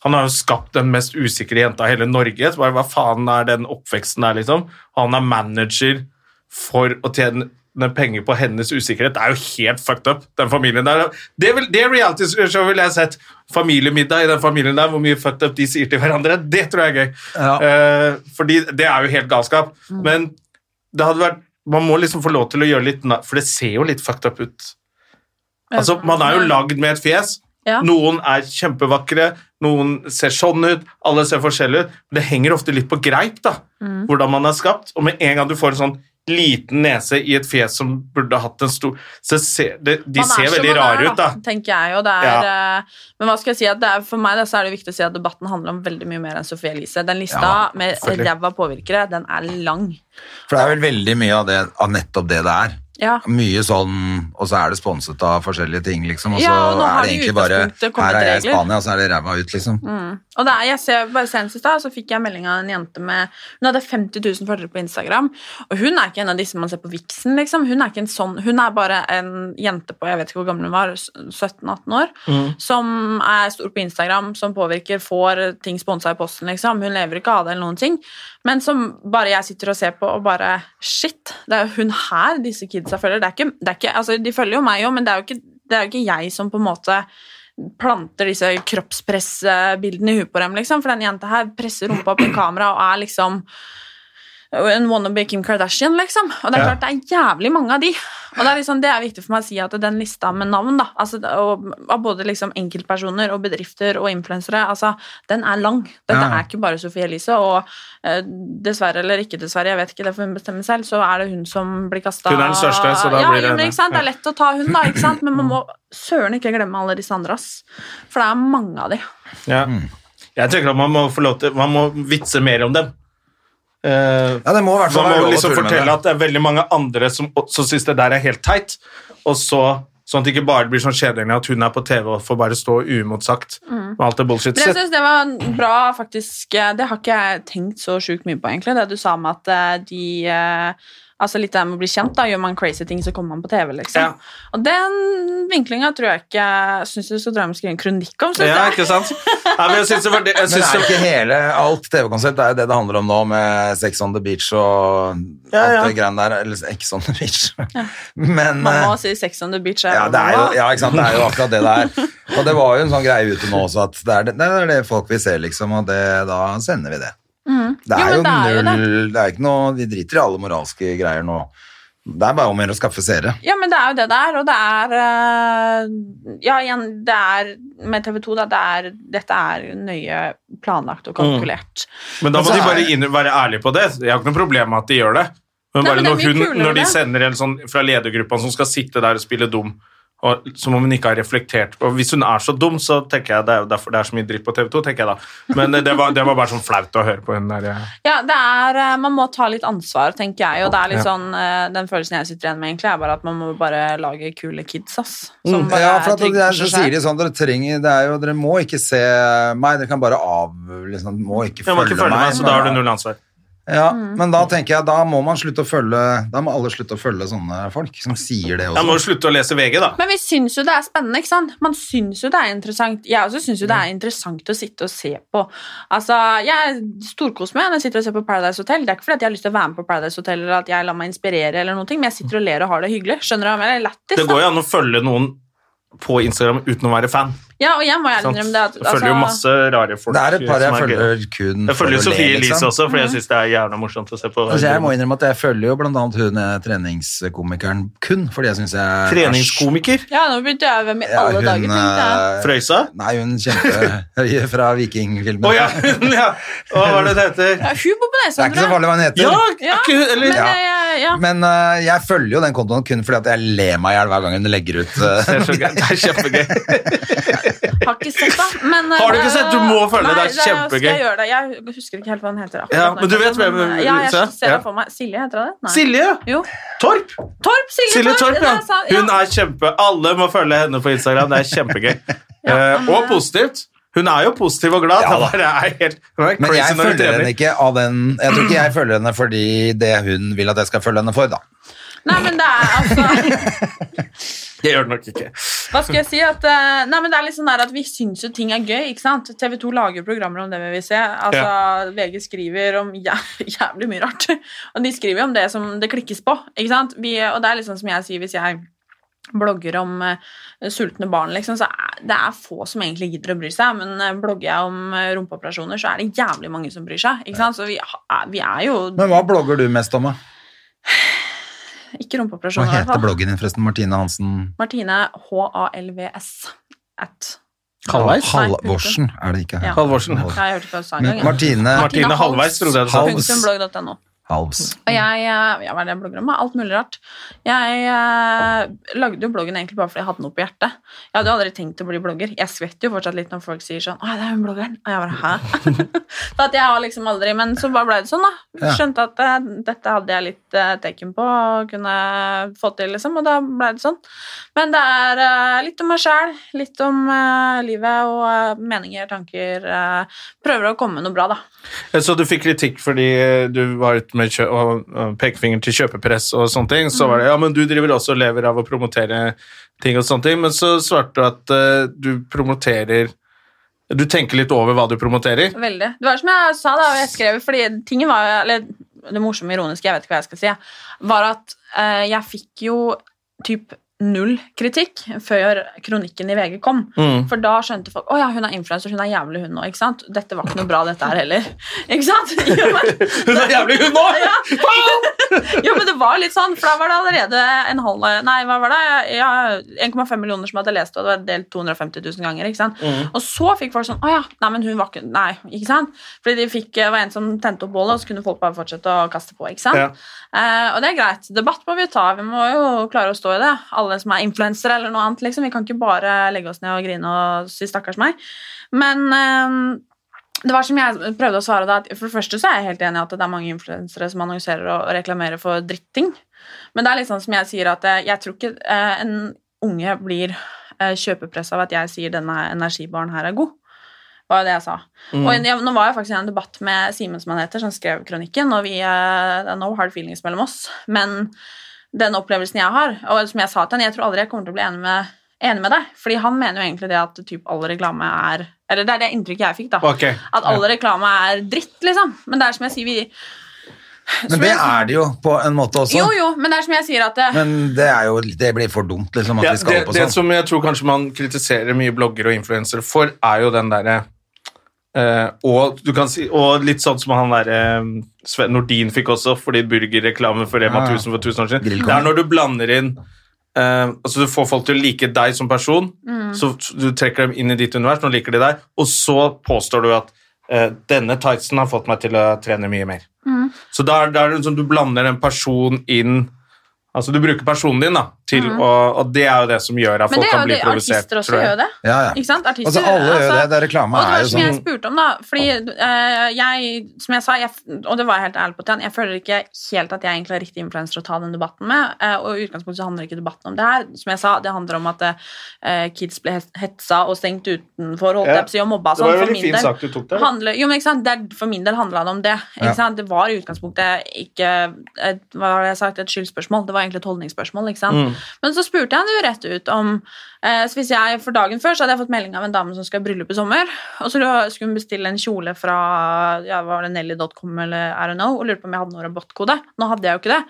Han har jo skapt den mest usikre jenta i hele Norge. Så bare, hva faen er den oppveksten der, liksom? Han er manager for å tjene penger på hennes usikkerhet. Det er jo helt fucked up, den familien der. Det, vil, det reality-showet ville jeg sett. Familiemiddag i den familien der, hvor mye fucked up de sier til hverandre. Det tror jeg er gøy. Ja. Eh, fordi det er jo helt galskap. Men det hadde vært Man må liksom få lov til å gjøre litt na- For det ser jo litt fucked up ut. Altså, Man er jo lagd med et fjes. Ja. Noen er kjempevakre, noen ser sånn ut, alle ser forskjellige ut. Men det henger ofte litt på greip, da, Mm. hvordan man er skapt. Og med en gang du får en sånn liten nese i et fjes som burde hatt en stor så ser, det, De Man er ser som veldig man rare er, ut, da. Tenker jeg, og det er, eh, men hva skal jeg si at det er, for meg da, så er det viktig å si at debatten handler om veldig mye mer enn Sophie Elise. Den lista Ja, med selvfølgelig. ræva påvirkere, den er lang. For det er vel veldig mye av, det, av nettopp det det er. Ja. Mye sånn, og så er det sponset av forskjellige ting, liksom. Og så Ja, og nå har er det det i egentlig bare utgangspunktet kommet Her er jeg i regler. Mm. Spania, og så er det ræva ut, liksom. Og det er, jeg ser bare Senest i stad så fikk jeg melding av en jente med Hun hadde 50 000 følgere på Instagram. Og hun er ikke en av disse man ser på Vixen. Liksom. Hun er ikke en sånn, hun er bare en jente på jeg vet ikke hvor gammel hun var, 17-18 år, som er stor på Instagram, som påvirker, får ting sponsa i posten. Liksom. Hun lever ikke av det eller noen ting. Men som bare jeg sitter og ser på og bare Shit, det er jo hun her disse kidsa følger. Det er ikke, det er ikke, altså, de følger jo meg òg, men det er jo ikke, det er jo ikke jeg som på en måte planter disse kroppspressbildene i huet på dem, liksom. For den jenta her presser rumpa opp i kamera og er liksom en wannabe Kim Kardashian, liksom. Og det er Ja. klart det er jævlig mange av de. Og det er, liksom, det er viktig for meg å si at den lista med navn, da, altså, det- og, av både liksom enkeltpersoner og bedrifter og influensere, altså, den er lang. Dette Ja. er ikke bare Sophie Elise, og eh, dessverre eller ikke dessverre, jeg vet ikke, det får hun bestemme selv, så er det hun som blir kasta Hun er den største, så da ja, blir det jo, henne. men Mm. ikke sant? Det er lett å ta hun, da, ikke sant? men man må søren ikke glemme alle disse andre, ass. For det er mange av de. Ja. Mm. Jeg tenker at man må få lov til Man må vitse mer om dem. Eh, Ja, det må i hvert fall man være må lov å liksom tulle med fortelle det. at det er veldig mange andre som også syns det der er helt teit. Og så Sånn at det ikke bare blir sånn kjedelig at hun er på TV og får bare stå uimotsagt med alt det bullshit. Mm. Men jeg synes det var bra, faktisk. eh, Det har ikke jeg tenkt så sjukt mye på, egentlig. Det du sa med at eh, de eh, Altså litt det her med å bli kjent, da. Gjør man crazy ting, så kommer man på TV, liksom. Ja. Og den vinklinga tror jeg ikke Syns du skal dra med og skrive en kronikk om, synes Ja, jeg. ikke sant? Nei, men jeg synes det var det, jeg Men det synes er det, ikke hele alt TV-konsept, det er jo det det handler om nå, med Sex on the Beach og Ja, ja. alt det greiene der. Eller Ex on the Beach. Men Man må eh, si Sex on the beach. ja, det er jo, ja. ja, ikke sant? det er jo akkurat det det er. Og det var jo en sånn greie ute nå også, at det er det, det, er det folk vil se, liksom, og det, da sender vi det. Det Mm. Jo, er men jo, det er jo null Det er ikke noe Vi driter i alle moralske greier nå. Det er bare om å gjøre å skaffe seere. Ja, men det er jo det det er, og det er eh, Ja, igjen, det er med TV 2, da. Det er, dette er nøye planlagt Mm. og kalkulert. men da må Men så de er- bare inn, være ærlige på det. Jeg har ikke noe problem med at de gjør det. Men Nei, bare men det er når, mye hun, kulere når de det. sender en sånn fra ledergruppa som skal sitte der og spille dum, og, som om hun ikke har reflektert Og hvis hun er så dum, så tenker jeg det er jo derfor det er så mye dritt på TV 2, tenker jeg da. Men eh, det var, det var bare sånn flaut å høre på hun der. eh. Ja, det er, eh, Man må ta litt ansvar, tenker jeg. Og det er litt Ja. sånn, eh, Den følelsen jeg sitter igjen med, egentlig, er bare at man må bare lage kule kids. ass. Som Mm. bare Ja, for at trygge det er, på så seg sier selv. de sånn Dere trenger det er jo, Dere må ikke se meg, dere kan bare av liksom, Må ikke Jeg må følge ikke følge meg, så da har du null ansvar. Ja, Mm. Men da tenker jeg, da må man slutte å følge Da må alle slutte å følge sånne folk som sier det Jeg må også. jo slutte å lese VG, da. Men vi syns jo det er spennende, ikke sant? Man syns jo det er interessant. Jeg også syns jo det er interessant å sitte og se på. Altså, jeg storkoser meg når jeg sitter og ser på Paradise Hotel. Det er ikke fordi at jeg har lyst til å være med på Paradise Hotel, eller at jeg lar meg inspirere, eller noen ting, men jeg sitter og ler og har det hyggelig. Skjønner du hva jeg mener? Lættis. Det går da. jo an å følge noen på Instagram uten å være fan. Ja, og jeg må ærlig Sant? innrømme det at jeg følger jo altså, masse rare folk. Det er et par som jeg gøy. følger kun Jeg for å følger Mm. le, Sofie Elise liksom. også, for jeg syns det er jævla morsomt å se på. Altså, jeg må innrømme at jeg følger jo blant annet hun eh, treningskomikeren kun fordi jeg syns jeg Treningskomiker Ja, nå begynte jeg hvem i Ja, alle dager, hun tenkte jeg. eh, Frøysa. Nei, hun kjempehøye fra vikingfilmen. Å ja, hun, ja! Hva var det det heter? Ja, hun bor på Det er ikke så farlig hva hun heter. Ja, er ikke hun eller Men, Ja. eh, ja. Men eh, jeg følger jo den kontoen kun fordi at jeg ler meg i hjel hver gang hun legger ut Det eh, er så gøy. Det er kjempegøy. Har ikke sett det. Men, eh, Har du ikke sett? Du må følge det. Nei, Det er kjempegøy. Skal jeg, gjøre det. jeg husker ikke helt hva hun heter. akkurat Ja, nå, men du vet men, hvem- eh, Ja, jeg Lisa? ser Ja. det for meg. Silje heter det? Nei. Silje Jo. Torp! Torp! Silje, Silje Torp, ja. det er sant, Hun er kjempe... Alle må følge henne på Instagram. Det er kjempegøy. Eh, og positivt. Hun er jo positiv og glad. Ja, da. Det bare er helt hun er Men crazy jeg når hun følger trener. henne ikke av den Jeg tror ikke jeg følger henne fordi det hun vil at jeg skal følge henne for, da. Nei, men det er altså Det gjør hun nok ikke. Hva skal jeg si? At, eh, nei, men det er litt sånn der at Vi syns jo ting er gøy. ikke sant? TV 2 lager programmer om det vi vil se. Altså, VG skriver om jæ jævlig mye rart. Og de skriver jo om det som det klikkes på. ikke sant? Vi, og det er litt sånn som jeg sier hvis jeg blogger om eh, sultne barn, liksom, så er det er få som egentlig gidder å bry seg. Men eh, blogger jeg om eh, rumpeoperasjoner, så er det jævlig mange som bryr seg. ikke sant? Så vi, ha- eh, vi er jo Men hva blogger du mest om, da? ikke Hva rumpeoperasjoner, i hvert heter fall. bloggen din, forresten? Martine Hansen Martine H-A-L-V-S. At. Halvveis? Halvorsen er det ikke. Ja. Halvorsen. Ja, jeg hørte på sang en Men gang. Martine Martine Halvveis, trodde jeg du sa. Halvs. Halvs. Halvs. Og jeg, eh, ja, hva er det jeg blogger om? da? Alt mulig rart. Jeg eh, lagde jo bloggen egentlig bare fordi jeg hadde noe på hjertet. Jeg hadde jo aldri tenkt å bli blogger. Jeg skvetter jo fortsatt litt når folk sier sånn 'Å, det er hun bloggeren.' Og jeg bare 'hæ?' så at jeg har liksom aldri Men så bare ble det sånn, da. Ja. Skjønte at eh, dette hadde jeg litt eh, teken på og kunne få til, liksom. Og da ble det sånn. Men det er eh, litt om meg sjæl, litt om eh, livet og eh, meninger, tanker. eh, prøver å komme med noe bra, da. Eh, Så du fikk kritikk fordi eh, du var ute med kjø og og pekefinger til kjøpepress og sånne ting. Så var det ja, men du driver også og lever av å promotere ting og sånne ting. Men så svarte du at eh, du promoterer Du tenker litt over hva du promoterer. Veldig. Det var som jeg sa da, og jeg skrev fordi tingen var, eller det morsomme ironiske, jeg vet ikke hva jeg skal si, jeg, var at eh, jeg fikk jo typ null kritikk før kronikken i VG kom. Mm. For da skjønte folk, åja, hun er influencer, hun er jævlig hun nå, ikke sant? Dette var ikke noe bra dette her heller. Ikke sant? Jo, men, Hun er jævlig hun nå! ja. jo, men det var litt sånn, for da var det allerede en halv, nei, hva var det? Ja, 1,5 millioner som hadde lest, det, og det var delt 250 000 ganger, ikke sant? Og så fikk folk sånn, åja, nei, men hun var ikke, nei, ikke sant? Fordi de fikk, det var en som tente opp bålet, og så kunne folk bare fortsette å kaste på, ikke sant? Ja. Eh, og det er greit, debatt må vi ta, vi må jo klare å stå i det, alle som er influencer eller noe annet, liksom, vi kan ikke bare legge oss ned og grine og si stakkars meg. Men... eh, det var som jeg prøvde å svare da, at for det første så er jeg helt enig i at det er mange influensere som annonserer og og reklamerer for dritting. Men det er litt sånn som jeg sier at eh, jeg tror ikke eh, en unge blir eh, kjøpepress av at jeg sier denne energibaren her er god. var jo det jeg sa. Og jeg, nå var jeg faktisk i en debatt med Simen som han heter, som skrev kronikken, og vi, eh, det er no hard feelings mellom oss. Men den opplevelsen jeg har, og som jeg sa til han, jeg tror aldri jeg kommer til å bli enig med, enig med deg. Fordi han mener jo egentlig det at typ all reklame er Eller det er det inntrykket jeg fikk, da. Ok. At all reklame er dritt, liksom. Men det er som jeg sier, vi Men det er det jo på en måte også. Jo, jo, men det er som jeg sier at eh, Men det, er jo, det blir for dumt, liksom, at Ja, vi skal det, holde på det sånn. som jeg tror kanskje man kritiserer mye bloggere og influensere for, er jo den derre eh, og, du kan si, og litt sånn som han derre Sven Nordin fikk også, fordi burgerreklame for Rema Ah, Ja, ja. 1000 for 1000 år siden. Grillkorn. Det er når du blander inn eh, altså Du får folk til å like deg som person, så du trekker dem inn i ditt univers, nå liker de deg, og så påstår du at eh, denne tightsen har fått meg til å trene mye mer. Så da er da er det sånn, du blander en person inn Altså, du bruker personen din, da, til å Og det er jo det som gjør at Mhm. Men folk det er kan jo bli det provosert. artister også tror jeg. gjør det. Ja, ja. Ikke sant? Artister, Altså, alle gjør det. Det er reklame Og det er var jo som jeg sånn- spurte om, da. Fordi eh, jeg, som jeg sa, jeg, og det var jeg helt ærlig på til han, jeg føler ikke helt at jeg egentlig er riktig influenser å ta den debatten med. eh, og i utgangspunktet så handler ikke debatten om det her. Som jeg sa, det handler om at eh, kids ble hes- hetsa og stengt utenfor, holdt Ja. jeg på å si, og mobba Det var en sånn. For veldig min fin del sak du tok der. da. handler, jo, men ikke sant? Det er, for min del handla det om det. Ja. Ikke sant? Det var i utgangspunktet ikke et, hva har jeg sagt, et skyldspørsmål, det var egentlig et holdningsspørsmål. Ikke sant? Mm. Men så spurte jeg han jo rett ut om eh, så hvis jeg, For dagen før så hadde jeg fått melding av en dame som skal i bryllup i sommer. Og så skulle hun bestille en kjole fra ja, hva var det nelly.com eller I don't know, og lurte på om jeg hadde noen rabattkode. Nå hadde jeg jo ikke det.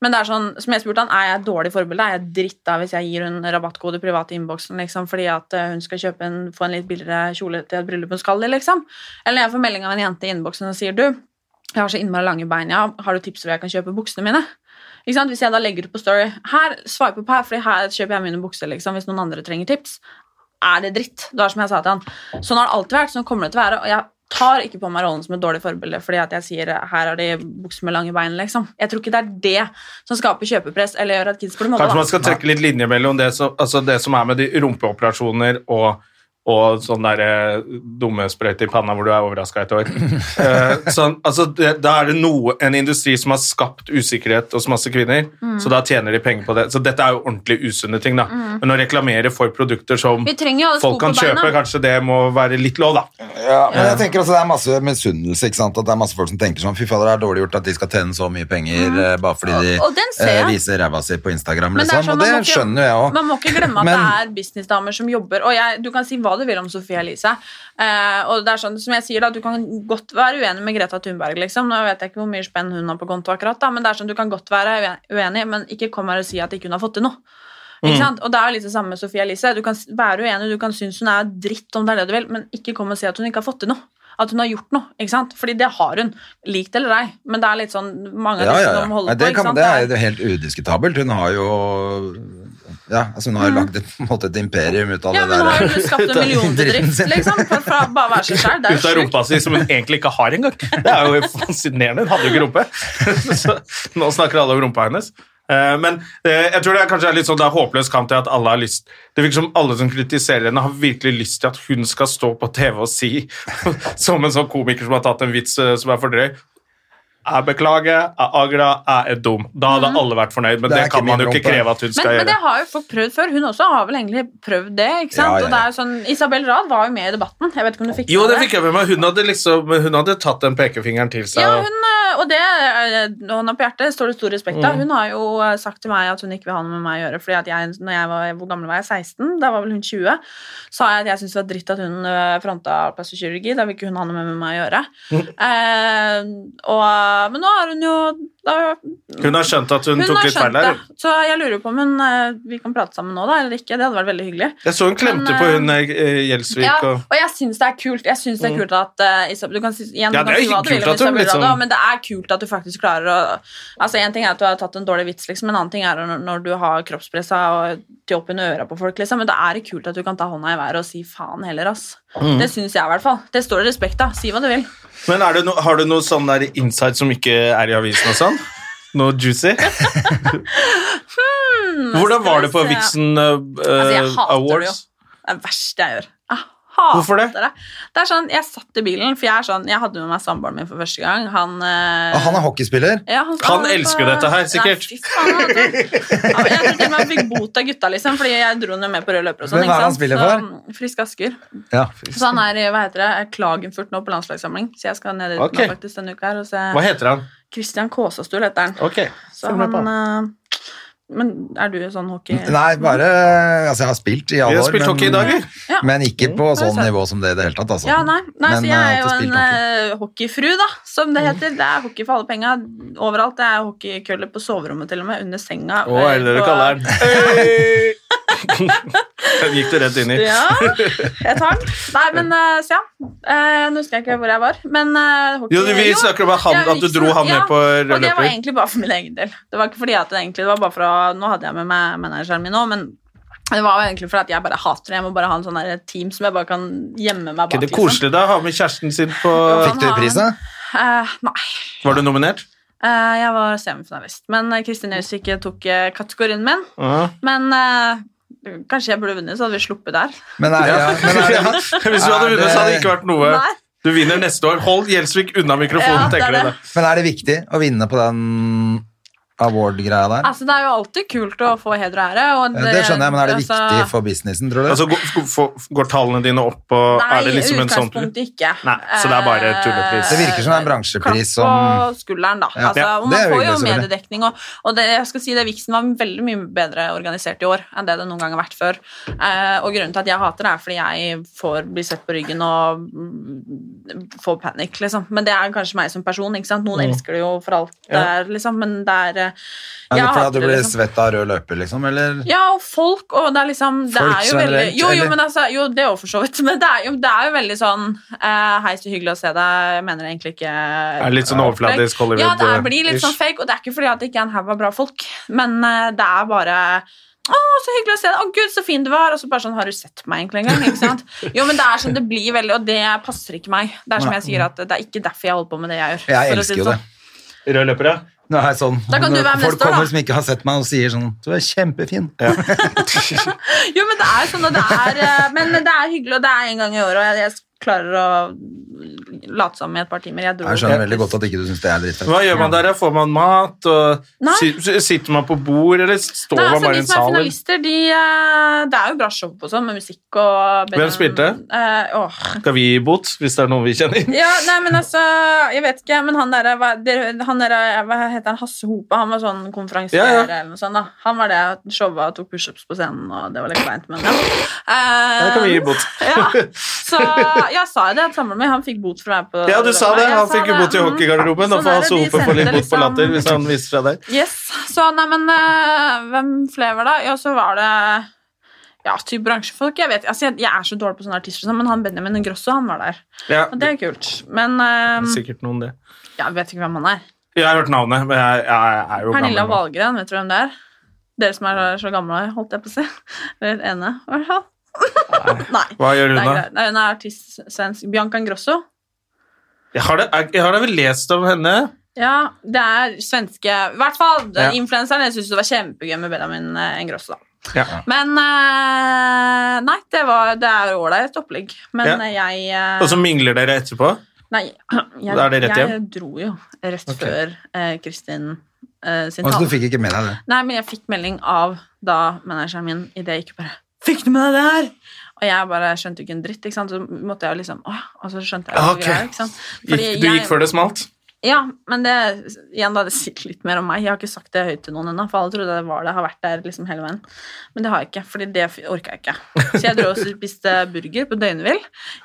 Men det er sånn, som jeg spurte han, er jeg et dårlig forbilde? Er jeg dritta hvis jeg gir hun rabattkode privat i innboksen liksom, fordi at eh, hun skal kjøpe en, få en litt billigere kjole til et bryllup hun skal i? liksom? Eller jeg får melding av en jente i innboksen og sier du, jeg har så innmari lange bein, ja. har du tips til hvor jeg kan kjøpe buksene mine? Ikke sant? Hvis jeg da legger ut på Story her, swipe opp her, for her kjøper jeg mine bukser liksom, hvis noen andre trenger tips. Er det dritt? Det er som jeg sa til han. Sånn har det alltid vært, sånn kommer det til å være. og jeg tar ikke på meg rollen som et dårlig forbilde fordi at jeg sier her er de bukser med lange bein. liksom. Jeg tror ikke det er det som skaper kjøpepress eller gjør at kids blir mobba. Kanskje man skal trekke litt linje mellom det som, altså det som er med de rumpeoperasjoner og, og sånn der eh, dumme sprøyte i panna hvor du er overraska et år. Eh, sånn, altså det, da er det noe, en industri som har skapt usikkerhet hos masse kvinner, Mhm. så da tjener de penger på det. Så dette er jo ordentlig usunne ting, da. Men å reklamere for produkter som Mhm. Vi trenger jo alle sko folk på kan kjøpe, beina. kanskje det må være litt lov, da. Ja, men jeg tenker også det er masse misunnelse. ikke sant? At det er masse folk som tenker sånn Fy fader, det er dårlig gjort at de skal tjene så mye penger eh, bare fordi de Mm. og den ser eh, jeg. viser ræva si på Instagram, Men det er liksom. sånn, og det man må ikke- skjønner jo jeg òg. Man må ikke glemme at Men- det er businessdamer som jobber. Og jeg, du kan si hva du vil om Sophie Elise. Eh, og det er sånn som jeg sier da, Du kan godt være uenig med Greta Thunberg. liksom. Nå vet jeg ikke hvor mye spenn hun har på konto akkurat, da, men det er sånn du kan godt være ue- uenig, men ikke kom her og si at ikke hun har fått til noe. Ikke Mm. sant? Og det er jo litt det samme med Sophie Elise. Du kan s- være uenig, du kan synes hun er dritt om det er det du vil, men ikke kom og si at hun ikke har fått til noe. At hun har gjort noe. ikke sant? Fordi det har hun. Likt eller ei. Men det er litt sånn mange av Ja, disse ja, som ja. holder Nei, det, på. ikke kan, sant? det er jo helt udiskutabelt. Hun har jo Ja, altså hun har lagd et, på en måte et imperium ut av Mm. Ja, det men der. har du skapt en dritten millionbedrift, sin. liksom? For, for å bare være seg selv, Det er Ut av jo sjukt. rumpa si, som hun egentlig ikke har engang. Det er jo fascinerende. Hun hadde jo ikke rumpe. Så, nå snakker alle om rumpa hennes. Eh, Men eh, jeg tror det er kanskje er litt sånn det er håpløs kamp til at alle har lyst Det virker som alle som kritiserer henne, har virkelig lyst til at hun skal stå på TV og si, som en sånn komiker som har tatt en vits eh, som er for drøy Jeg beklager, jeg angrer, jeg er dum. Da Mhm. hadde alle vært fornøyd, men Det det, er ikke kan man min jo ikke rumpe. kreve at hun Men, skal men det gjøre. har jo folk prøvd før. Hun også har vel egentlig prøvd det. ikke sant? Ja, ja, ja. Og det er jo sånn, Isabel Rad var jo med i debatten. Jeg vet ikke om du fikk Jo, med det fikk jeg med meg. Hun hadde liksom, hun hadde tatt den pekefingeren til seg. Ja, og- hun, eh, og det eh, hånda på hjertet står det stor respekt av. Hun har jo eh, sagt til meg at hun ikke vil ha noe med meg å gjøre. fordi at jeg, når jeg var, Hvor gammel var jeg? 16? Da var vel hun 20. Sa jeg at jeg syntes det var dritt at hun eh, fronta plastikkirurgi. Da vil ikke hun ha noe med meg å gjøre. Eh, og, men nå har hun jo da, Hun har skjønt at hun, Hun tok har litt feil skjønt der. det. Så jeg lurer på om hun, eh, vi kan prate sammen nå, da, eller ikke. Det hadde vært veldig hyggelig. Jeg så hun klemte Men, på eh, hun eh, Gjelsvik Ja, og og jeg syns det er kult Jeg synes det er kult at eh, Isab- Du kan si, igjen, Mm. Ja, du kan det er si hva du vil kult om at hun Isabel liksom- Rada, men det er kult at du faktisk klarer å Altså, En ting er at du har tatt en dårlig vits, liksom, en annen ting er når, når du har kroppspressa og til opp under øra på folk, liksom. Men det er kult at du kan ta hånda i været og si faen heller, ass. Mm. Det syns jeg i hvert fall. Det står det respekt av. Si hva du vil. Men er det no, har du noe sånn der insight som ikke er i avisen og sånn? Noe juicy? Hvordan var det på Hmm, skal vi se. Vixen eh, Altså, jeg hater Awards? Det er det verste jeg gjør. Jeg hater Hvorfor det? Det er sånn, Jeg satt i bilen, for jeg er sånn, jeg hadde med meg samboeren min for første gang. Han, eh, Ah, Han er hockeyspiller. Ja, han, Han elsker dette her, sikkert. Nei, fy faen, han hadde- ja, men jeg tror til og med han fikk bot av gutta, liksom, fordi jeg dro ham med på rød løper. og sånn, Hvem er ikke han sant? spiller Så, mm, Frisk Asker. Ja. Så han er i, hva heter det, Klagenfurt nå på landslagssamling, så jeg skal ned dit Ok. nå faktisk denne uka her og Hva se heter han? Christian Kåsastul heter han. Ok, Så følg med på han eh, Men er du sånn hockey...? Nei, bare Altså, jeg har spilt i Vi alle har år, spilt hockey i dag, vi. Ja. men ikke på det er sånn sant. nivå som det i det hele tatt, altså. Ja, nei, nei Men, så eh, jeg er jo alltid en spilt hockey. eh, hockeyfru, da, som Mm. det heter. Det er hockey for alle penga overalt. Det er hockeykøller på soverommet, til og med. Under senga. eh, Å, er det det på- du kaller den? Den gikk du rett inn i. Ja, jeg tar den. Nei, men eh, så ja. Eh, nå husker jeg ikke hvor jeg var, men eh, hockey Jo, vi snakker om at, han, ja, at du Vixen, dro han ja. med på rød Og det var løper. egentlig bare for min egen del. Det var ikke fordi at det egentlig, det var bare for å, Nå hadde jeg med meg manageren min nå, men det var egentlig fordi at jeg bare hater det. Jeg må bare ha en sånn der team som jeg bare kan gjemme meg bak. Ikke det liksom. koselig da, å ha med kjæresten sin på Jo, han Fikk du har- pris, da? Eh, nei. Var du nominert? Eh, Jeg var semifinalist, men eh, Kristin Gjøsvik tok eh, kategorien min. Ja. Men eh, kanskje jeg burde vunnet, så hadde vi sluppet der. Men er, ja, men er, Ja, Hvis du hadde Er vunnet, så hadde det det- ikke vært noe Nei. Du vinner neste år. Hold Gjelsvik unna mikrofonen, Ja, det er tenker du det. det. men er det viktig å vinne på den award-greia der? Altså, det er jo alltid kult å få heder og ære. Og Ja, det skjønner jeg, men er det altså, viktig for businessen, tror du? Altså, går, får- går tallene dine opp, og Nei, er det liksom en sånn utgangspunktet ikke. Nei, så det er bare Eh, tullepris. det virker som det er en bransjepris som Klapp på skulderen, da. Ja. Altså, Ja, og det man er jo får jo hyggelig, selvfølgelig. mediedekning, og, og det, jeg skal si det, Vixen var veldig mye bedre organisert i år enn det det noen gang har vært før. Eh, og grunnen til at jeg hater det, er fordi jeg får bli sett på ryggen og mm, får panikk, liksom. Men det er kanskje meg som person, ikke sant. Mm. Noen elsker det jo for alt det er, liksom, men det er eh, Er det jeg fordi hater at du det, blir liksom. svett av rød løper, liksom? Eller? Ja, og folk, og det er liksom det Folk er jo veldig, generelt, Jo, jo, eller? men altså, jo, det er jo for så vidt. Men det er jo, det er jo veldig sånn eh, Hei, så hyggelig å se deg. Jeg mener egentlig ikke Er litt sånn overfladisk Hollywood, eh, Ja, det er, blir litt ish. sånn fake, og det er ikke fordi at det ikke er en haug av bra folk, men eh, det er bare å, så hyggelig å se deg. Å, gud, så fin du var. Og så bare sånn Har du sett meg egentlig en gang? Ikke sant? Jo, men det er sånn det blir veldig, og det passer ikke meg. Det er som jeg sier, at det er ikke derfor jeg holder på med det jeg gjør. Jeg for å si elsker jo det. sånn. Rød løper, ja. Nå er jeg sånn, Da kan du være når med folk neste år, kommer da. som ikke har sett meg og sier sånn Du er kjempefin. Jo, men det er sånn, og det er eh, Men det er hyggelig, og det er en gang i året, og jeg, jeg klarer å late som i et par timer. Jeg dro Jeg skjønner veldig godt at ikke du syns det er dritfett. Hva gjør man der? ja? Får man mat? Og Nei. si- sitter man på bord, eller står Nei, man altså, bare i de en som er sal? eller? finalister, de eh, Det er jo bra show på sånn, med musikk og Hvem spilte? Eh, åh. Skal vi gi bot, hvis det er noen vi kjenner? Ja, nei, men altså Jeg vet ikke, men han derre hva, dere- han derre- hva heter han? Hasse Hope? Han var sånn konferansier Ja, ja. eller noe sånt, da. Han var det. Showa og tok pushups på scenen, og det var litt kleint, men ja. Da kan vi gi Eh, bot. Ja, så jeg sa jo det at samboeren min han fikk bot for å være på Ja, du sa det. Jeg Han sa fikk jo det, bot i mm. hockeygarderoben. Da Sånn får er han det, de sope for litt bot sendte på liksom- latter hvis han viser seg der. Yes. Så nei, men eh, hvem flere var det? Ja, så var det ja, typ bransjefolk. Jeg vet, altså, jeg, jeg er så dårlig på sånne artister, og sånn, men han Benjamin Ingrosso han var der. Ja, Og det er kult. Men eh, sikkert noen det. jeg vet ikke hvem han er. Jeg har hørt navnet, men jeg, jeg er jo gammel. Pernilla nå. Wahlgren, vet du hvem det er? Dere som er så gamle, holdt jeg på å si. Eller ene, i hvert fall. Nei. Hva gjør Det hun er da? greit. Nei, hun er artist svensk. Bianca Ingrosso. Jeg har, det, jeg har da vel lest om henne? Ja, det er svenske I hvert fall Ja. influenseren. Jeg syns det var kjempegøy med Benjamin eh, Ingrosso, da. Ja. Men eh, Nei, det, var, det er ålreit opplegg. Men Ja. eh, jeg eh, Og så mingler dere etterpå? Nei, jeg, Da er det rett jeg hjem. dro jo rett før eh, Kristin eh, Og så sin tale. Altså, du fikk ikke med deg det. Nei, men jeg fikk melding av da manageren min i det jeg gikk bare Fikk du med deg det her?! Og jeg bare skjønte jo ikke en dritt, ikke sant. Så måtte jeg jo liksom Å ja. Og så skjønte jeg jo Ah, Ok. greier, ikke sant. Gikk, Fordi du jeg- gikk før det smalt? ja, men det, igjen da, det sier litt mer om meg. Jeg har ikke sagt det høyt til noen ennå, for alle trodde det var det. Jeg har vært der liksom hele veien. Men det har jeg ikke, fordi det orka jeg ikke. Så jeg dro og spiste burger på Døgnvill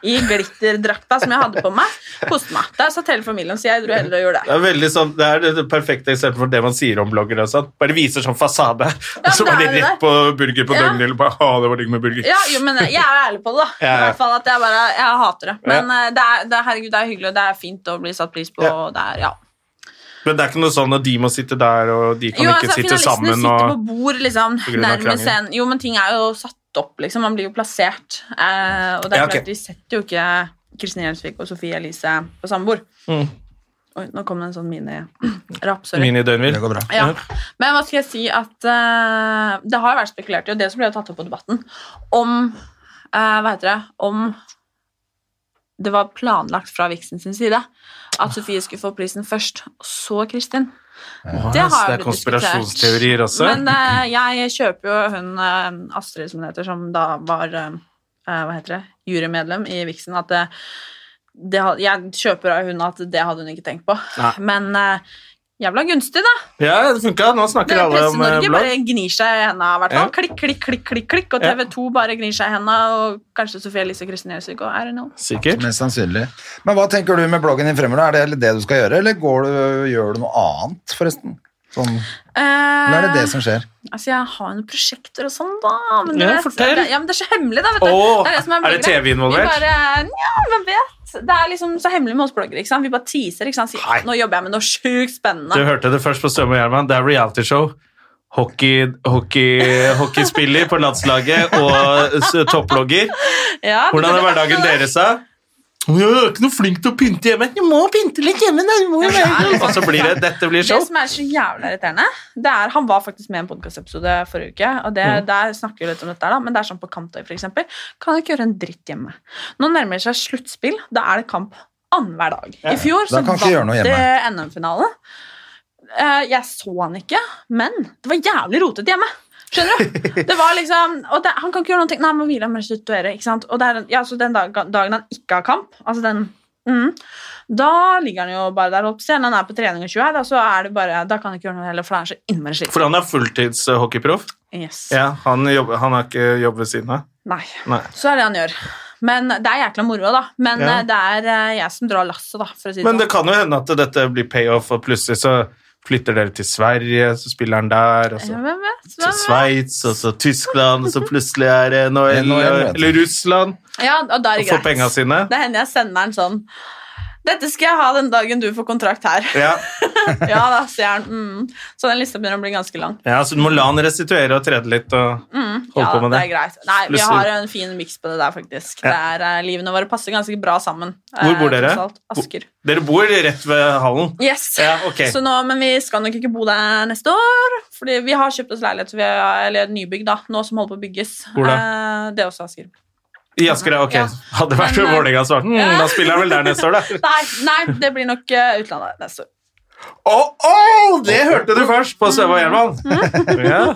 i glitterdrakta som jeg hadde på meg. Koste meg. Der satt hele familien, så jeg dro heller og gjorde Det det. er veldig sånn, det er det perfekte eksempelet for det man sier om bloggere. og sånn. Bare viser sånn fasade, og så det var de er det rett der. på burger på Ja. døgnet. Eller bare, å, det var digg med burger. Ja, jo, men jeg er jo ærlig på det, da. Ja, I ja. hvert fall at jeg bare Jeg hater det. Men Ja. eh, det er, det er, herregud, det er hyggelig, og det er fint å bli satt pris på, Ja. og det er Ja. Men det er ikke noe sånn at de må sitte der, og de kan jo, ikke altså, sitte sammen. Finalistene og... sitter på bord, liksom, på grunn av nærmest krangel. scenen. Jo, men ting er jo satt opp, liksom. Man blir jo plassert. Eh, og det er Ja, ok. klart, vi setter jo ikke Kristin Gjelsvik og Sofie Elise på samme bord. Mm. Oi, nå kom det en sånn mini-rapp, sorry. Mini døgnvill. Det går bra. Ja. Men hva skal jeg si at eh, Det har jo vært spekulert i, og det som ble tatt opp på Debatten, om eh, Hva heter det Om det var planlagt fra Vixen sin side at Sofie skulle få prisen først, og så Kristin. Det Yes, det har blitt er diskutert. konspirasjonsteorier også. Men eh, jeg kjøper jo hun eh, Astrid, som hun heter, som da var eh, eh, hva heter det, jurymedlem i Vixen, at det, det, had- jeg kjøper av hun at det hadde hun ikke tenkt på. Nei. Men eh, jævla gunstig, da. Ja, det funka. Nå snakker alle om eh, Presse-Norge blogg. bare gnir seg i henda, i hvert fall. Ja. Klikk, klikk, klikk, klikk, klikk, og Ja. TV2 bare gnir seg i henda, og kanskje Sofie Elise og Kristin Gjelsvik og er det noe? Sikkert. Mest sannsynlig. Men hva tenker du med bloggen din fremover? Er det heller det du skal gjøre, eller går du, gjør du noe annet, forresten? Sånn, eller er det det som skjer? Altså, jeg har jo noen prosjekter og sånn, da. Men, du Ja, vet, fortell. Det, ja, men det er så hemmelig, da. vet du. Åh, som er det bloggere. TV involvert? Vi bare, Nja, hvem vet? Det er liksom så hemmelig med oss bloggere. ikke sant? Vi bare teaser. ikke sant? Sier, Nei. nå jobber jeg med noe Du sjukt spennende. hørte det først på Støme og Gjerman. Det er realityshow. Hockey, hockey, hockeyspiller på landslaget og s- topplogger. Ja, Hvordan det altså- er var- hverdagen deres, da? Jeg er ikke noe flink til å pynte hjemme. Du må pynte litt hjemme. da. Du må jo være sånn. Og så blir det Dette blir Det show. som er så jævla irriterende, det er Han var faktisk med i en podkastepisode forrige uke, og det, der snakker vi litt om dette, her da, men det er sånn på Kamptøy, for eksempel. Kan ikke gjøre en dritt hjemme. Nå nærmer det seg sluttspill. Da er det kamp annenhver dag. I fjor Da så kan ikke gjøre noe vant det hjemme. NM-finale. Eh, Jeg så han ikke, men det var jævlig rotete hjemme. Skjønner du? Det var liksom, og det, Han kan ikke gjøre noen ting. Nei, men hvile, men restituere. ikke sant? Og det er, ja, så den dag, dagen han ikke har kamp, altså den mm, da ligger han jo bare der oppe igjen. Han er på trening og 20 her, da, så er det bare, da kan han ikke gjøre noe heller, for han er så innmari sliten. For han er fulltidshockeyproff. Yes. Ja, han, jobber, han har ikke jobb ved siden av. Nei. Nei. Så er det han gjør. Men det er jækla moro, da. Men Ja. eh, det er eh, jeg som drar lasset, da, for å si det Men det sånn. kan jo hende at dette blir payoff, og plutselig så flytter dere til Sverige, så spiller han der, og så Hvem vet? til Hvem vet? Sveits, og så Tyskland, og så plutselig er det Det er NHL, noe jeg vet. eller Russland, Ja, og da er og det får greit. penga sine. Det hender jeg sender han sånn Dette skal jeg ha den dagen du får kontrakt her. Ja. ja da, sier han. Mm. Så den lista begynner å bli ganske lang. ja, så du må la han restituere og trede litt og holde Mm, ja, på med det det. er greit. Nei, vi Plutselig- har en fin miks på det der, faktisk. Det er, eh, livene våre passer ganske bra sammen. Hvor Eh, bor dere? tross alt. Asker. Dere bor rett ved hallen. Yes. Ja, ok. Så nå, men vi skal nok ikke bo der neste år. Fordi vi har kjøpt oss leilighet, så vi har- eller nybygg, da, nå som holder på å bygges. Hvor da? Det er også Asker. I Asker, ja, ok. Ja. Hadde vært Men, eh, Vålerenga svart. Mm, ja. Da spiller han vel der neste år, da. Nei, nei, det blir nok eh, utlandet neste år. Åh, åh, det hørte du først på Søva Gjerman. Mm. Ja.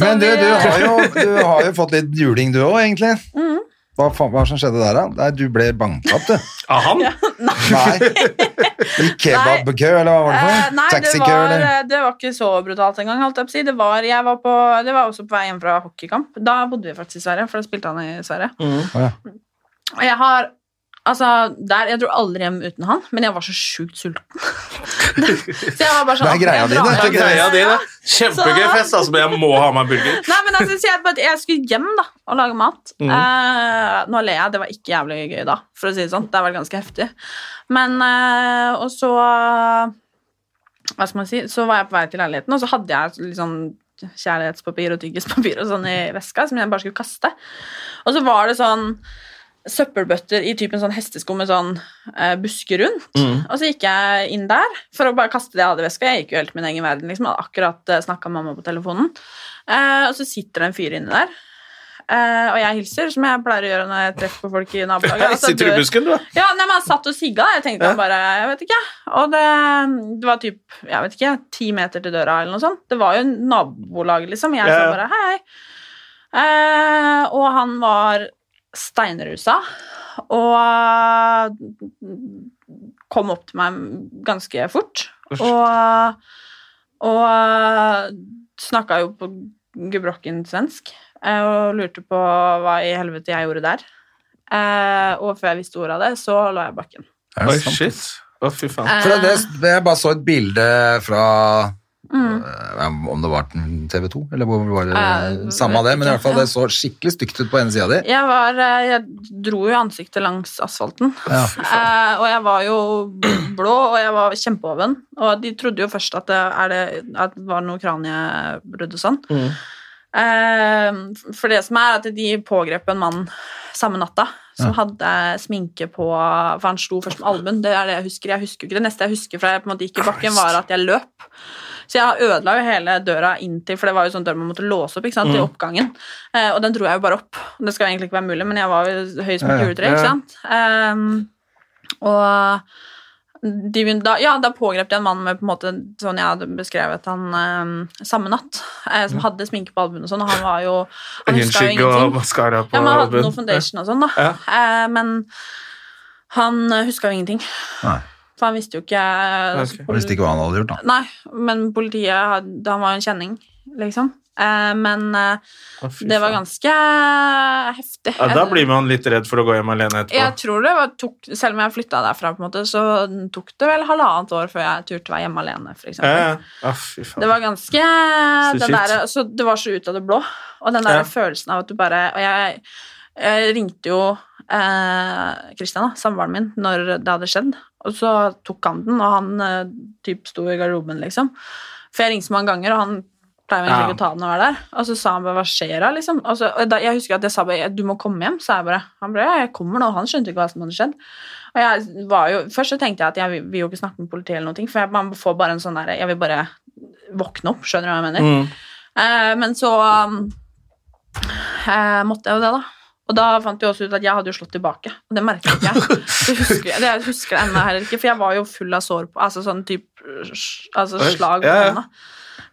Men du, vi- du har, jo, du har jo fått litt juling du òg, egentlig. Mm. Hva faen hva er det som skjedde der, da? Nei, du ble banka opp, du. Av han? Nei. I kebabkø, eller hva var det Eh, for noe? nei, det Taxikø, var, eller? eh, det var ikke så brutalt engang. holdt jeg på å si. Det var, jeg var, på, det var også på vei hjem fra hockeykamp. Da bodde vi faktisk i Sverige, for da spilte han i Sverige. Å, ja. Og jeg har Altså, der, Jeg dro aldri hjem uten han, men jeg var så sjukt sulten. så jeg var bare sånn Det er greia jeg di, drar det. Det hjem. er greia di, det. Kjempegøy Så- fest, altså, men jeg må ha meg en burger. Nei, men altså, så jeg, bare- jeg skulle hjem da, og lage mat. Eh, nå ler jeg, det var ikke jævlig gøy da, for å si det sånn. Det var ganske heftig. Men, eh, og så, hva skal man si, så var jeg på vei til leiligheten, og så hadde jeg litt sånn kjærlighetspapir og tyggispapir og sånn i veska, som jeg bare skulle kaste. Og så var det sånn søppelbøtter i typen sånn hestesko med sånn eh, busker rundt. Mm. Og så gikk jeg inn der for å bare kaste det jeg hadde i veska. Jeg gikk jo helt min egen verden, liksom. Jeg hadde akkurat eh, snakka med mamma på telefonen. Eh, og så sitter det en fyr inne der. Eh, og jeg hilser, som jeg pleier å gjøre når jeg treffer på folk i nabolaget. Her Altså, sitter du i dør- busken, du. ja, nei, men han satt og sigga. Jeg tenkte han bare Jeg vet ikke. Og det, det var typ, jeg vet ikke, ti meter til døra eller noe sånt. Det var jo nabolaget, liksom. Jeg Ja. sa bare hei, hei. Eh, og han var steinrusa og kom opp til meg ganske fort. Og, og snakka jo på gebrokken svensk eh, og lurte på hva i helvete jeg gjorde der. Eh, og før jeg visste ordet av det, så lå jeg i bakken. Er Oi, det sant? shit. Å, fy Eh, faen. Eh. For det, det- jeg bare så et bilde fra Mm. eh, Om det var TV 2, eller hvor var det Eh, Samme av det, men i ikke, hvert fall ja. det så skikkelig stygt ut på ene sida di. Jeg, var, eh, jeg dro jo ansiktet langs asfalten, Ja. eh, og jeg var jo blå, og jeg var kjempeoven. Og de trodde jo først at det, er det, at det var noe kraniebrudd og sånn. Eh, for det som er, at de pågrep en mann samme natta som hadde sminke på For han slo først med albuen. Det er det jeg husker. Jeg husker jo ikke det neste jeg husker fra jeg på en måte gikk i bakken, var at jeg løp. Så jeg ødela jo hele døra inntil, for det var jo sånn dør man måtte låse opp ikke sant, i Mm. oppgangen. Eh, og den dro jeg jo bare opp. Det skal egentlig ikke være mulig, men jeg var jo høy som et juletre, ikke sant. Ehm, og de begynte, da, ja, da pågrep de en mann med på en måte sånn jeg hadde beskrevet han eh, samme natt, eh, som hadde sminke på albuen og sånn, og han var jo Han huska jo Øyenskygge og ingenting. maskara på Ja, men han hadde albuen. noe foundation og sånn, da. Ja. Eh, men han huska jo ingenting. Nei. For han visste jo ikke altså, Ok. Jeg visste ikke hva han hadde gjort, da. Nei, men politiet hadde, Han var jo en kjenning, liksom. Eh, men eh, Å, fy det var faen. ganske heftig. ja, Da blir man litt redd for å gå hjem alene etterpå. Jeg tror det var, tok, Selv om jeg flytta derfra, på en måte, så tok det vel halvannet år før jeg turte å være hjemme alene. For Ja, eksempel. ja. Eh? Å, fy faen. Det var ganske Så den kjipt. der, så Det var så ut av det blå. Og den der Ja. følelsen av at du bare Og jeg, jeg ringte jo eh, Christian, da, samboeren min, når det hadde skjedd. Og så tok han den, og han eh, typ sto i garderoben, liksom. For jeg ringte så mange ganger, og han pleier jo egentlig Ja. ikke å ta den når jeg var der. Og så sa han bare 'hva skjer da', liksom. Og så, og da, jeg husker at jeg sa bare 'du må komme hjem', sa jeg bare. Han bare 'ja, jeg kommer nå'. Han skjønte ikke hva som hadde skjedd. Og jeg var jo, Først så tenkte jeg at jeg vil- vil jo ikke snakke med politiet, eller noe, for jeg, man får bare en sånn derre Jeg vil bare våkne opp, skjønner du hva jeg mener? Mm. Eh, men så um, eh, måtte jeg jo det, da. Og da fant vi også ut at jeg hadde jo slått tilbake. Og det merket ikke jeg. Det husker jeg, det jeg husker jeg ennå heller ikke, for jeg var jo full av sår på Altså sånn typ sj- altså Oi, slag på ja, ja. hånda.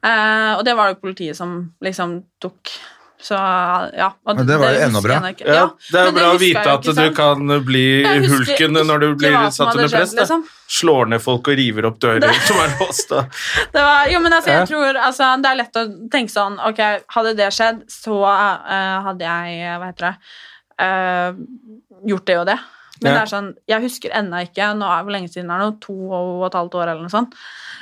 Eh, og det var det jo politiet som liksom tok. Så ja. og Men det var jo husker enda bra. jeg nok ikke. Ja, Ja, det er jo men bra å husker vite jeg jo at ikke, du sant? kan bli Jeg husker hulken ikke når du blir hva som satt under hadde press. skjedd, da. liksom. Slår ned folk og river opp dører som er låst. Da. Det var, jo, men altså, Ja. jeg tror altså, Det er lett å tenke sånn Ok, hadde det skjedd, så eh, hadde jeg Hva heter det eh, Gjort det og det. Men Ja. det er sånn Jeg husker ennå ikke Nå er hvor lenge siden er det nå? To og et halvt år, eller noe sånt.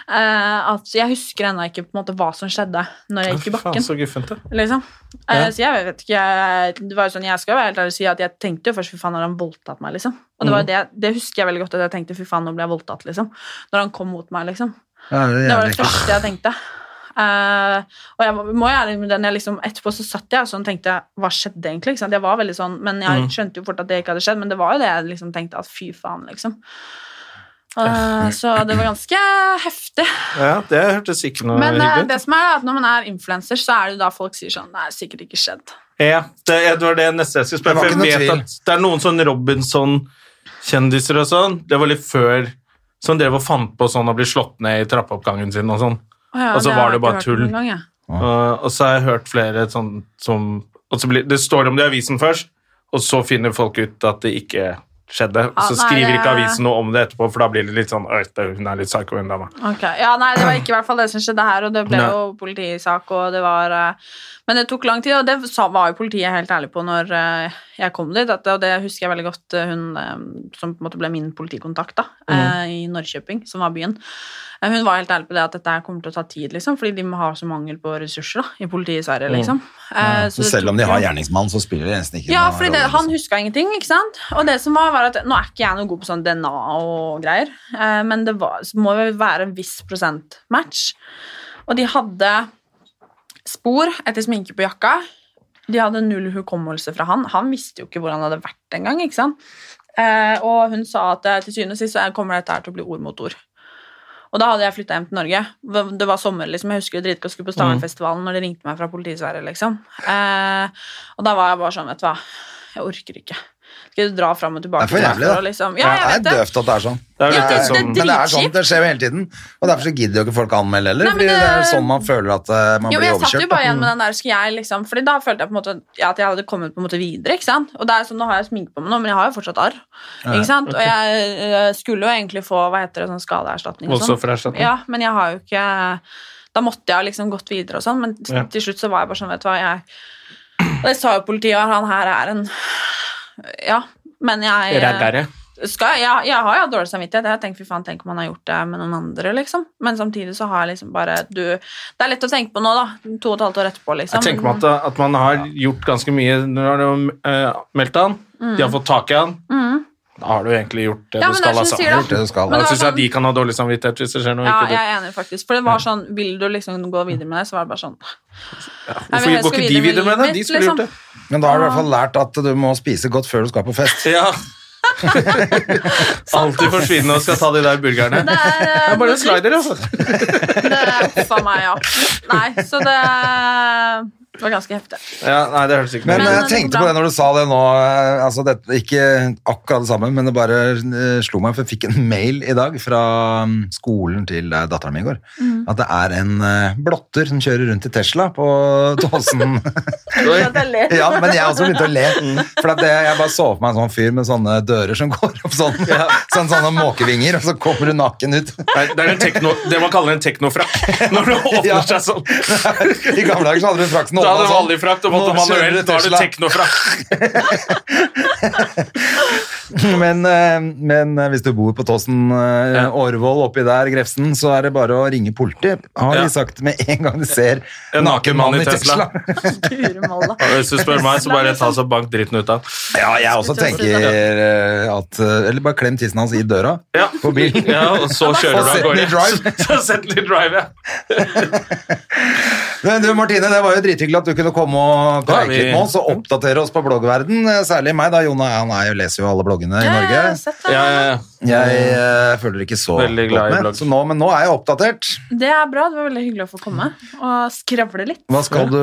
eh, at jeg husker ennå ikke på en måte hva som skjedde når jeg gikk i Faen, bakken. så guffent, da. Liksom. Eh, Ja. Så jeg vet ikke jeg, Det var jo sånn, jeg skal jo være helt ærlig og si at jeg tenkte jo først 'fy faen, har han voldtatt meg?' liksom. Og Mm. det, var jo det, det husker jeg veldig godt, at jeg tenkte 'fy faen, nå ble jeg voldtatt', liksom. Når han kom mot meg, liksom. Ja, det er Det var jævlig det første jeg tenkte. Eh, og jeg var- må jo ærlig med den jeg liksom, etterpå så satt jeg og sånn tenkte Hva skjedde egentlig? Ikke sant? Jeg var veldig sånn, men Mm. jeg skjønte jo fort at det ikke hadde skjedd, men det var jo det jeg liksom tenkte at fy faen, liksom. Eh, så det var ganske heftig. Ja, det hørtes ikke noe Men eh, hyggelig ut. det som er at når man er influenser, så er det jo da folk sier sånn Det er sikkert ikke skjedd. Ja, det, det var det neste jeg skulle Det spørre. var For ikke jeg noe vet tvil. at det er noen sånn Robinson-kjendiser og sånn. Det var litt før som drev og fant på sånn å bli slått ned i trappeoppgangen sin og sånn. Å ja, Og så har var jeg det ikke bare hørt tull. noen gang, jeg. Eh, Og, og så har jeg hørt flere sånn som og så blir, Det står om det i avisen først, og så finner folk ut at det ikke skjedde. Og så Ah, nei, skriver det- ikke avisen noe om det etterpå, for da blir det litt sånn «Øy, det- Hun er litt psycho, hun dama. Ok, ja nei, Det var ikke i hvert fall det som skjedde her, og det ble Nei. jo politisak. og det var... eh, Men det tok lang tid, og det sa- var jo politiet helt ærlig på når eh, jeg kom dit. At, og det husker jeg veldig godt eh, hun eh, som på en måte ble min politikontakt da, eh, Mhm. i Norrköping, som var byen. Eh, Hun var helt ærlig på det at dette her kommer til å ta tid, liksom, fordi de har så mangel på ressurser da, i politiet i Sverige. liksom. Eh, Så det Mhm. selv om de tok har jo- gjerningsmann, så spiller det nesten ikke ja, noe fordi det, rolle, han liksom. huska ingenting, ikke sant? Og det som var, var at nå er ikke jeg noe god på sånn DNA og greier, eh, men det var, så må jo være en viss prosentmatch. Og de hadde spor etter sminke på jakka. De hadde null hukommelse fra han. Han visste jo ikke hvor han hadde vært engang, ikke sant? Eh, og hun sa at eh, til syvende og sist så kommer dette her til å bli ord mot ord. Og da hadde jeg flytta hjem til Norge. Det var sommer, liksom. Jeg husker jo dritgodt skulle på Mm. Stavangerfestivalen når de ringte meg fra politiet i Sverige, liksom. Eh, og da var jeg bare sånn, vet du hva, jeg orker ikke. Skal du dra fram og Det tilbake? er for til jævlig, da. Oslo, Liksom. Ja, jeg det er vet det. døvt at det er sånn. Det er jo Ja, litt det det- som Men det er sånn, dritkjipt. det skjer jo hele tiden. Og derfor så gidder jo ikke folk å anmelde heller, Nei, men fordi det er det- sånn man føler at eh, man Jo, men blir jeg satt jo overkjørt. da. bare Mm. igjen med den der, skal jeg liksom Fordi da følte jeg på en måte ja, at jeg hadde kommet på en måte videre, ikke sant? Og det er sånn, nå har jeg sminke på meg nå, men jeg har jo fortsatt arr, ikke sant? Og jeg eh, skulle jo egentlig få, hva heter det, sånn skadeerstatning og sånn. Voldsoffererstatning. Ja, men jeg har jo ikke Da måtte jeg liksom gått videre og sånn, men Ja. til slutt så var jeg bare sånn, vet du hva, jeg Og det sa jo politiet, at han her er en Ja, men jeg Raddere. skal, jeg, jeg har jo hatt dårlig samvittighet. Jeg har tenkt, fy faen, tenk om han har gjort det med noen andre, liksom. Men samtidig så har jeg liksom bare du, Det er lett å tenke på nå, da. To og et halvt år etterpå, liksom. Jeg tenker meg at, at man har gjort ganske mye når de har eh, meldt han. De har fått tak i han. Da har du egentlig gjort det Mm. Ja, du men det skal. er Altså. som du sier, Jeg da. Gjort det du skal. Men det var syns at sånn- de kan ha dårlig samvittighet hvis det skjer noe. ja, ikke du. jeg er enig, faktisk. For det var sånn Vil du liksom gå videre med det? Så var det bare sånn Nei, men Hvorfor jeg går skal ikke de videre med det? livet De mitt, skulle liksom. gjort det. Men da har du i hvert fall lært at du må spise godt før du skal på fest. Ja. Alltid forsvinne og skal ta de der burgerne. Det er, eh, Det er bare noe en slider, altså. Det Uff a meg, ja. Nei, så det var ganske heftig. Ja, nei, det hørtes ikke Men, noe eh, ut. jeg det er tenkte bra. på det når du sa det nå eh, altså det, Ikke akkurat det samme, men det bare eh, slo meg, for jeg fikk en mail i dag fra mm, skolen til eh, datteren min i går. At det er en eh, blotter som kjører rundt i Tesla på Tåsen. ja, men jeg også begynte å le. For at det, jeg bare så for meg en sånn fyr med sånne dører som går opp sånn, sånn sånne måkevinger, og så kommer du naken ut. Nei, Det er en tekno, det man kaller en teknofrakk. Når det åpner Ja. seg sånn. I gamle dager så hadde du fraksen Da hadde åpnet det vanlig frakk, da måtte sånn. Nå man kjører du manuelt. Da har du Tesla. teknofrakk. Men, eh, men eh, hvis du bor på Tåsen, eh, Ja. Årvoll, oppi der, Grefsen, så er det bare å ringe politiet, har de Ja. sagt med en gang de ser En naken mann i Tesla. Guremalla. Og Hvis du spør meg, så bare ta så bank dritten ut av. ja, jeg også tenker eh, at eh, Eller bare klem tissen hans i døra Ja. på bilen. Ja, og så kjører du av gårde. Sydney Drive. Så Sydney Drive, ja. Men du, Martine, det var jo drithyggelig at du kunne komme og Ja, preike vi- litt med oss og oppdatere oss på bloggverden, eh, særlig meg da, Jona, han er jo, leser jo alle bloggene i Ja, Norge. jeg har Eh, sett det. Ja, ja, ja. Jeg eh, følger ikke så Veldig glad i godt med, blogg. så nå, men nå er jeg oppdatert. Det er bra. Det var veldig hyggelig å få komme og skravle litt. Hva skal du,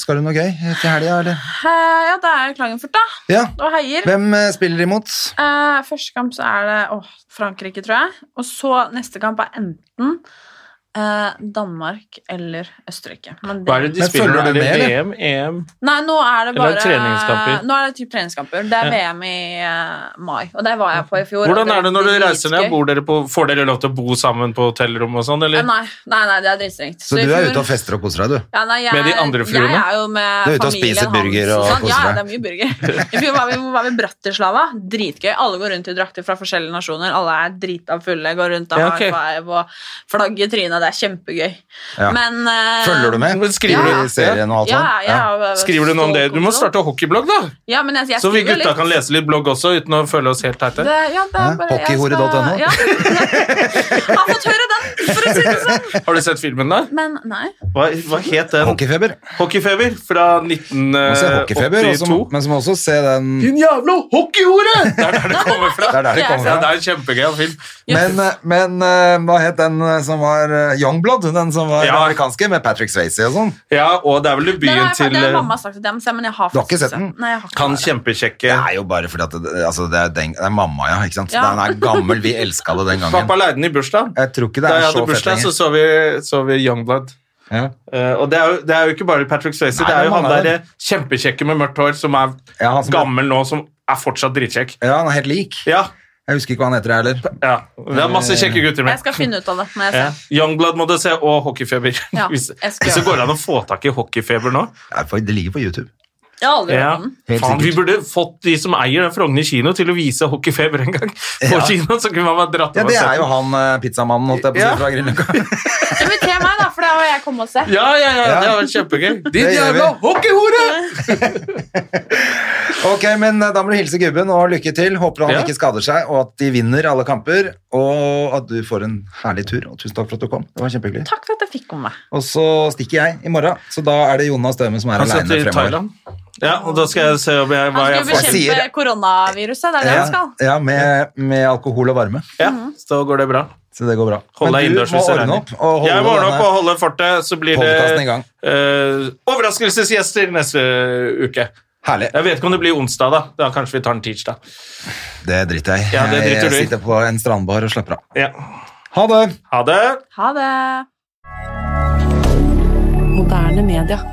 skal du noe gøy til helgen, eller? Eh, Ja, det er Klagenfurt, da. Ja, Og heier. hvem eh, spiller imot? Eh, første kamp så er det åh, Frankrike, tror jeg. Og så neste kamp er enten eh, Danmark eller Østerrike. Men det- Hva er det de Men spiller? følger Er du det med, eller? VM? EM? Nei, nå er Eller det bare er det treningskamper? Nå er det typ treningskamper. Det er VM i eh, mai, og der var jeg på i fjor. Hvordan og er det når du var reiser ned? dritgøy. Bor dere på, får dere lov til å bo sammen på hotellrom og sånn, Eh, eller? Nei, nei, nei, det er dritstrengt. Så du er ute og fester og koser deg, du. ja, nei, jeg, Med de andre fruene? Jeg er jo med Du er ute og familien spiser burger og hans sånn. Ja, koser det deg. er mye burger. I fjor var vi, var vi i Bratislava. Dritgøy. Alle går rundt i drakter fra forskjellige nasjoner. Alle er drita fulle, går rundt og Ja, har ok. high five og flagg i trynet. Det er kjempegøy. Ja. Men eh, Følger du med? Men skriver Ja. I serien og alt Ja, sånt? ja, ja. Skriver du noe om det? Du må starte hockeyblogg, da! Ja, men jeg, jeg Så vi skriver gutta litt. kan lese litt blogg også, uten å føle oss helt teite. Det, ja, det Hæ? er bare jeg skal- Hockeyhore.no? Ja. Jeg Har fått høre den, for å si det sånn. Har du sett filmen der? Men nei. Hva, hva het den? Hockeyfeber. Hockeyfeber fra Man må se Eh, hockeyfeber, og så må- 1982. men så må man også se den Din jævla hockeyhore! Det er der det kommer fra. Det er der det kommer Ja, fra. det er en kjempegøy film. Men, eh, men eh, hva het den eh, som var eh, Youngblood? Den som var Ja. amerikanske, med Patrick Swayze og sånn? Ja, og det er vel Den debuten har, jeg- til den har eh, mamma sagt til dem, så jeg- men jeg har Du har ikke sett faktisk den? Nei, jeg har ikke han det. Det kjempekjekke er jo bare fordi at det, altså, det, er den, det er mamma, ja. ikke sant? Ja. Den er gammel. Vi elska det den gangen. Pappa leide den i bursdag. Jeg tror ikke det Da er jeg så hadde fett bursdag, så lenger. så vi, så vi Youngblood. Ja. Eh, og det er, jo, det er jo ikke bare Patrick Swayze, Nei, det er jo det er han mange Altså, der eh, kjempekjekke med mørkt hår som er Ja, han som- gammel nå, som er fortsatt dritkjekk. ja, han er helt lik. Ja, Jeg husker ikke hva han heter, jeg heller. ja. Det er masse kjekke gutter Jeg med. skal finne ut av det når jeg Ja. ser. Youngblood må du se, og Hockeyfeber. Ja, Hvis jeg skal hvis det gjøre går an å få tak i Hockeyfeber nå. Det er for- Det ligger på YouTube. Jeg har aldri Ja. hørt om den. Helt Faen, vi sikkert. burde fått de som eier den Frogner kino, til å vise Hockeyfeber en gang på Ja. kino. Så kunne man bare dratt Ja, dem og det sett er jo den. han eh, pizzamannen, holdt jeg på å Ja. si, fra Grünerløkka. Inviter meg, da, for det har jeg kommet og sett. Ja, ja, ja, Ja. det har vært kjempegøy. Det Din gjør vi. jævla hockeyhore! Ok, men eh, da må du hilse gubben og lykke til. Håper han Ja. ikke skader seg, og at de vinner alle kamper. Og at du får en herlig tur. Og tusen takk for at du kom. Det var kjempehyggelig. Takk for at jeg fikk komme. Og så stikker jeg i morgen, så da er det Jonas Døme som er Han aleine sitter i fremover. Thailand. Ja, og da skal jeg se om jeg, hva Han jeg skulle får. Jeg sier- bekjempe koronaviruset. Det er det han Ja, skal. ja med, med alkohol og varme. Ja, så da går det bra. Så det går bra. Hold deg men innendørs du må hvis det ordne regner. opp. Og holde Jeg må ordne denne- opp og holde fortet, så blir podcasten i det gang. eh, overraskelsesgjester neste uke. Herlig. Jeg vet ikke om det blir onsdag, da. Da kanskje vi tar en tirsdag. Det driter jeg i. Ja, det driter du i. jeg sitter på en strandbar og slapper av. Ja. Ha det! Ha det! Ha det. Moderne media.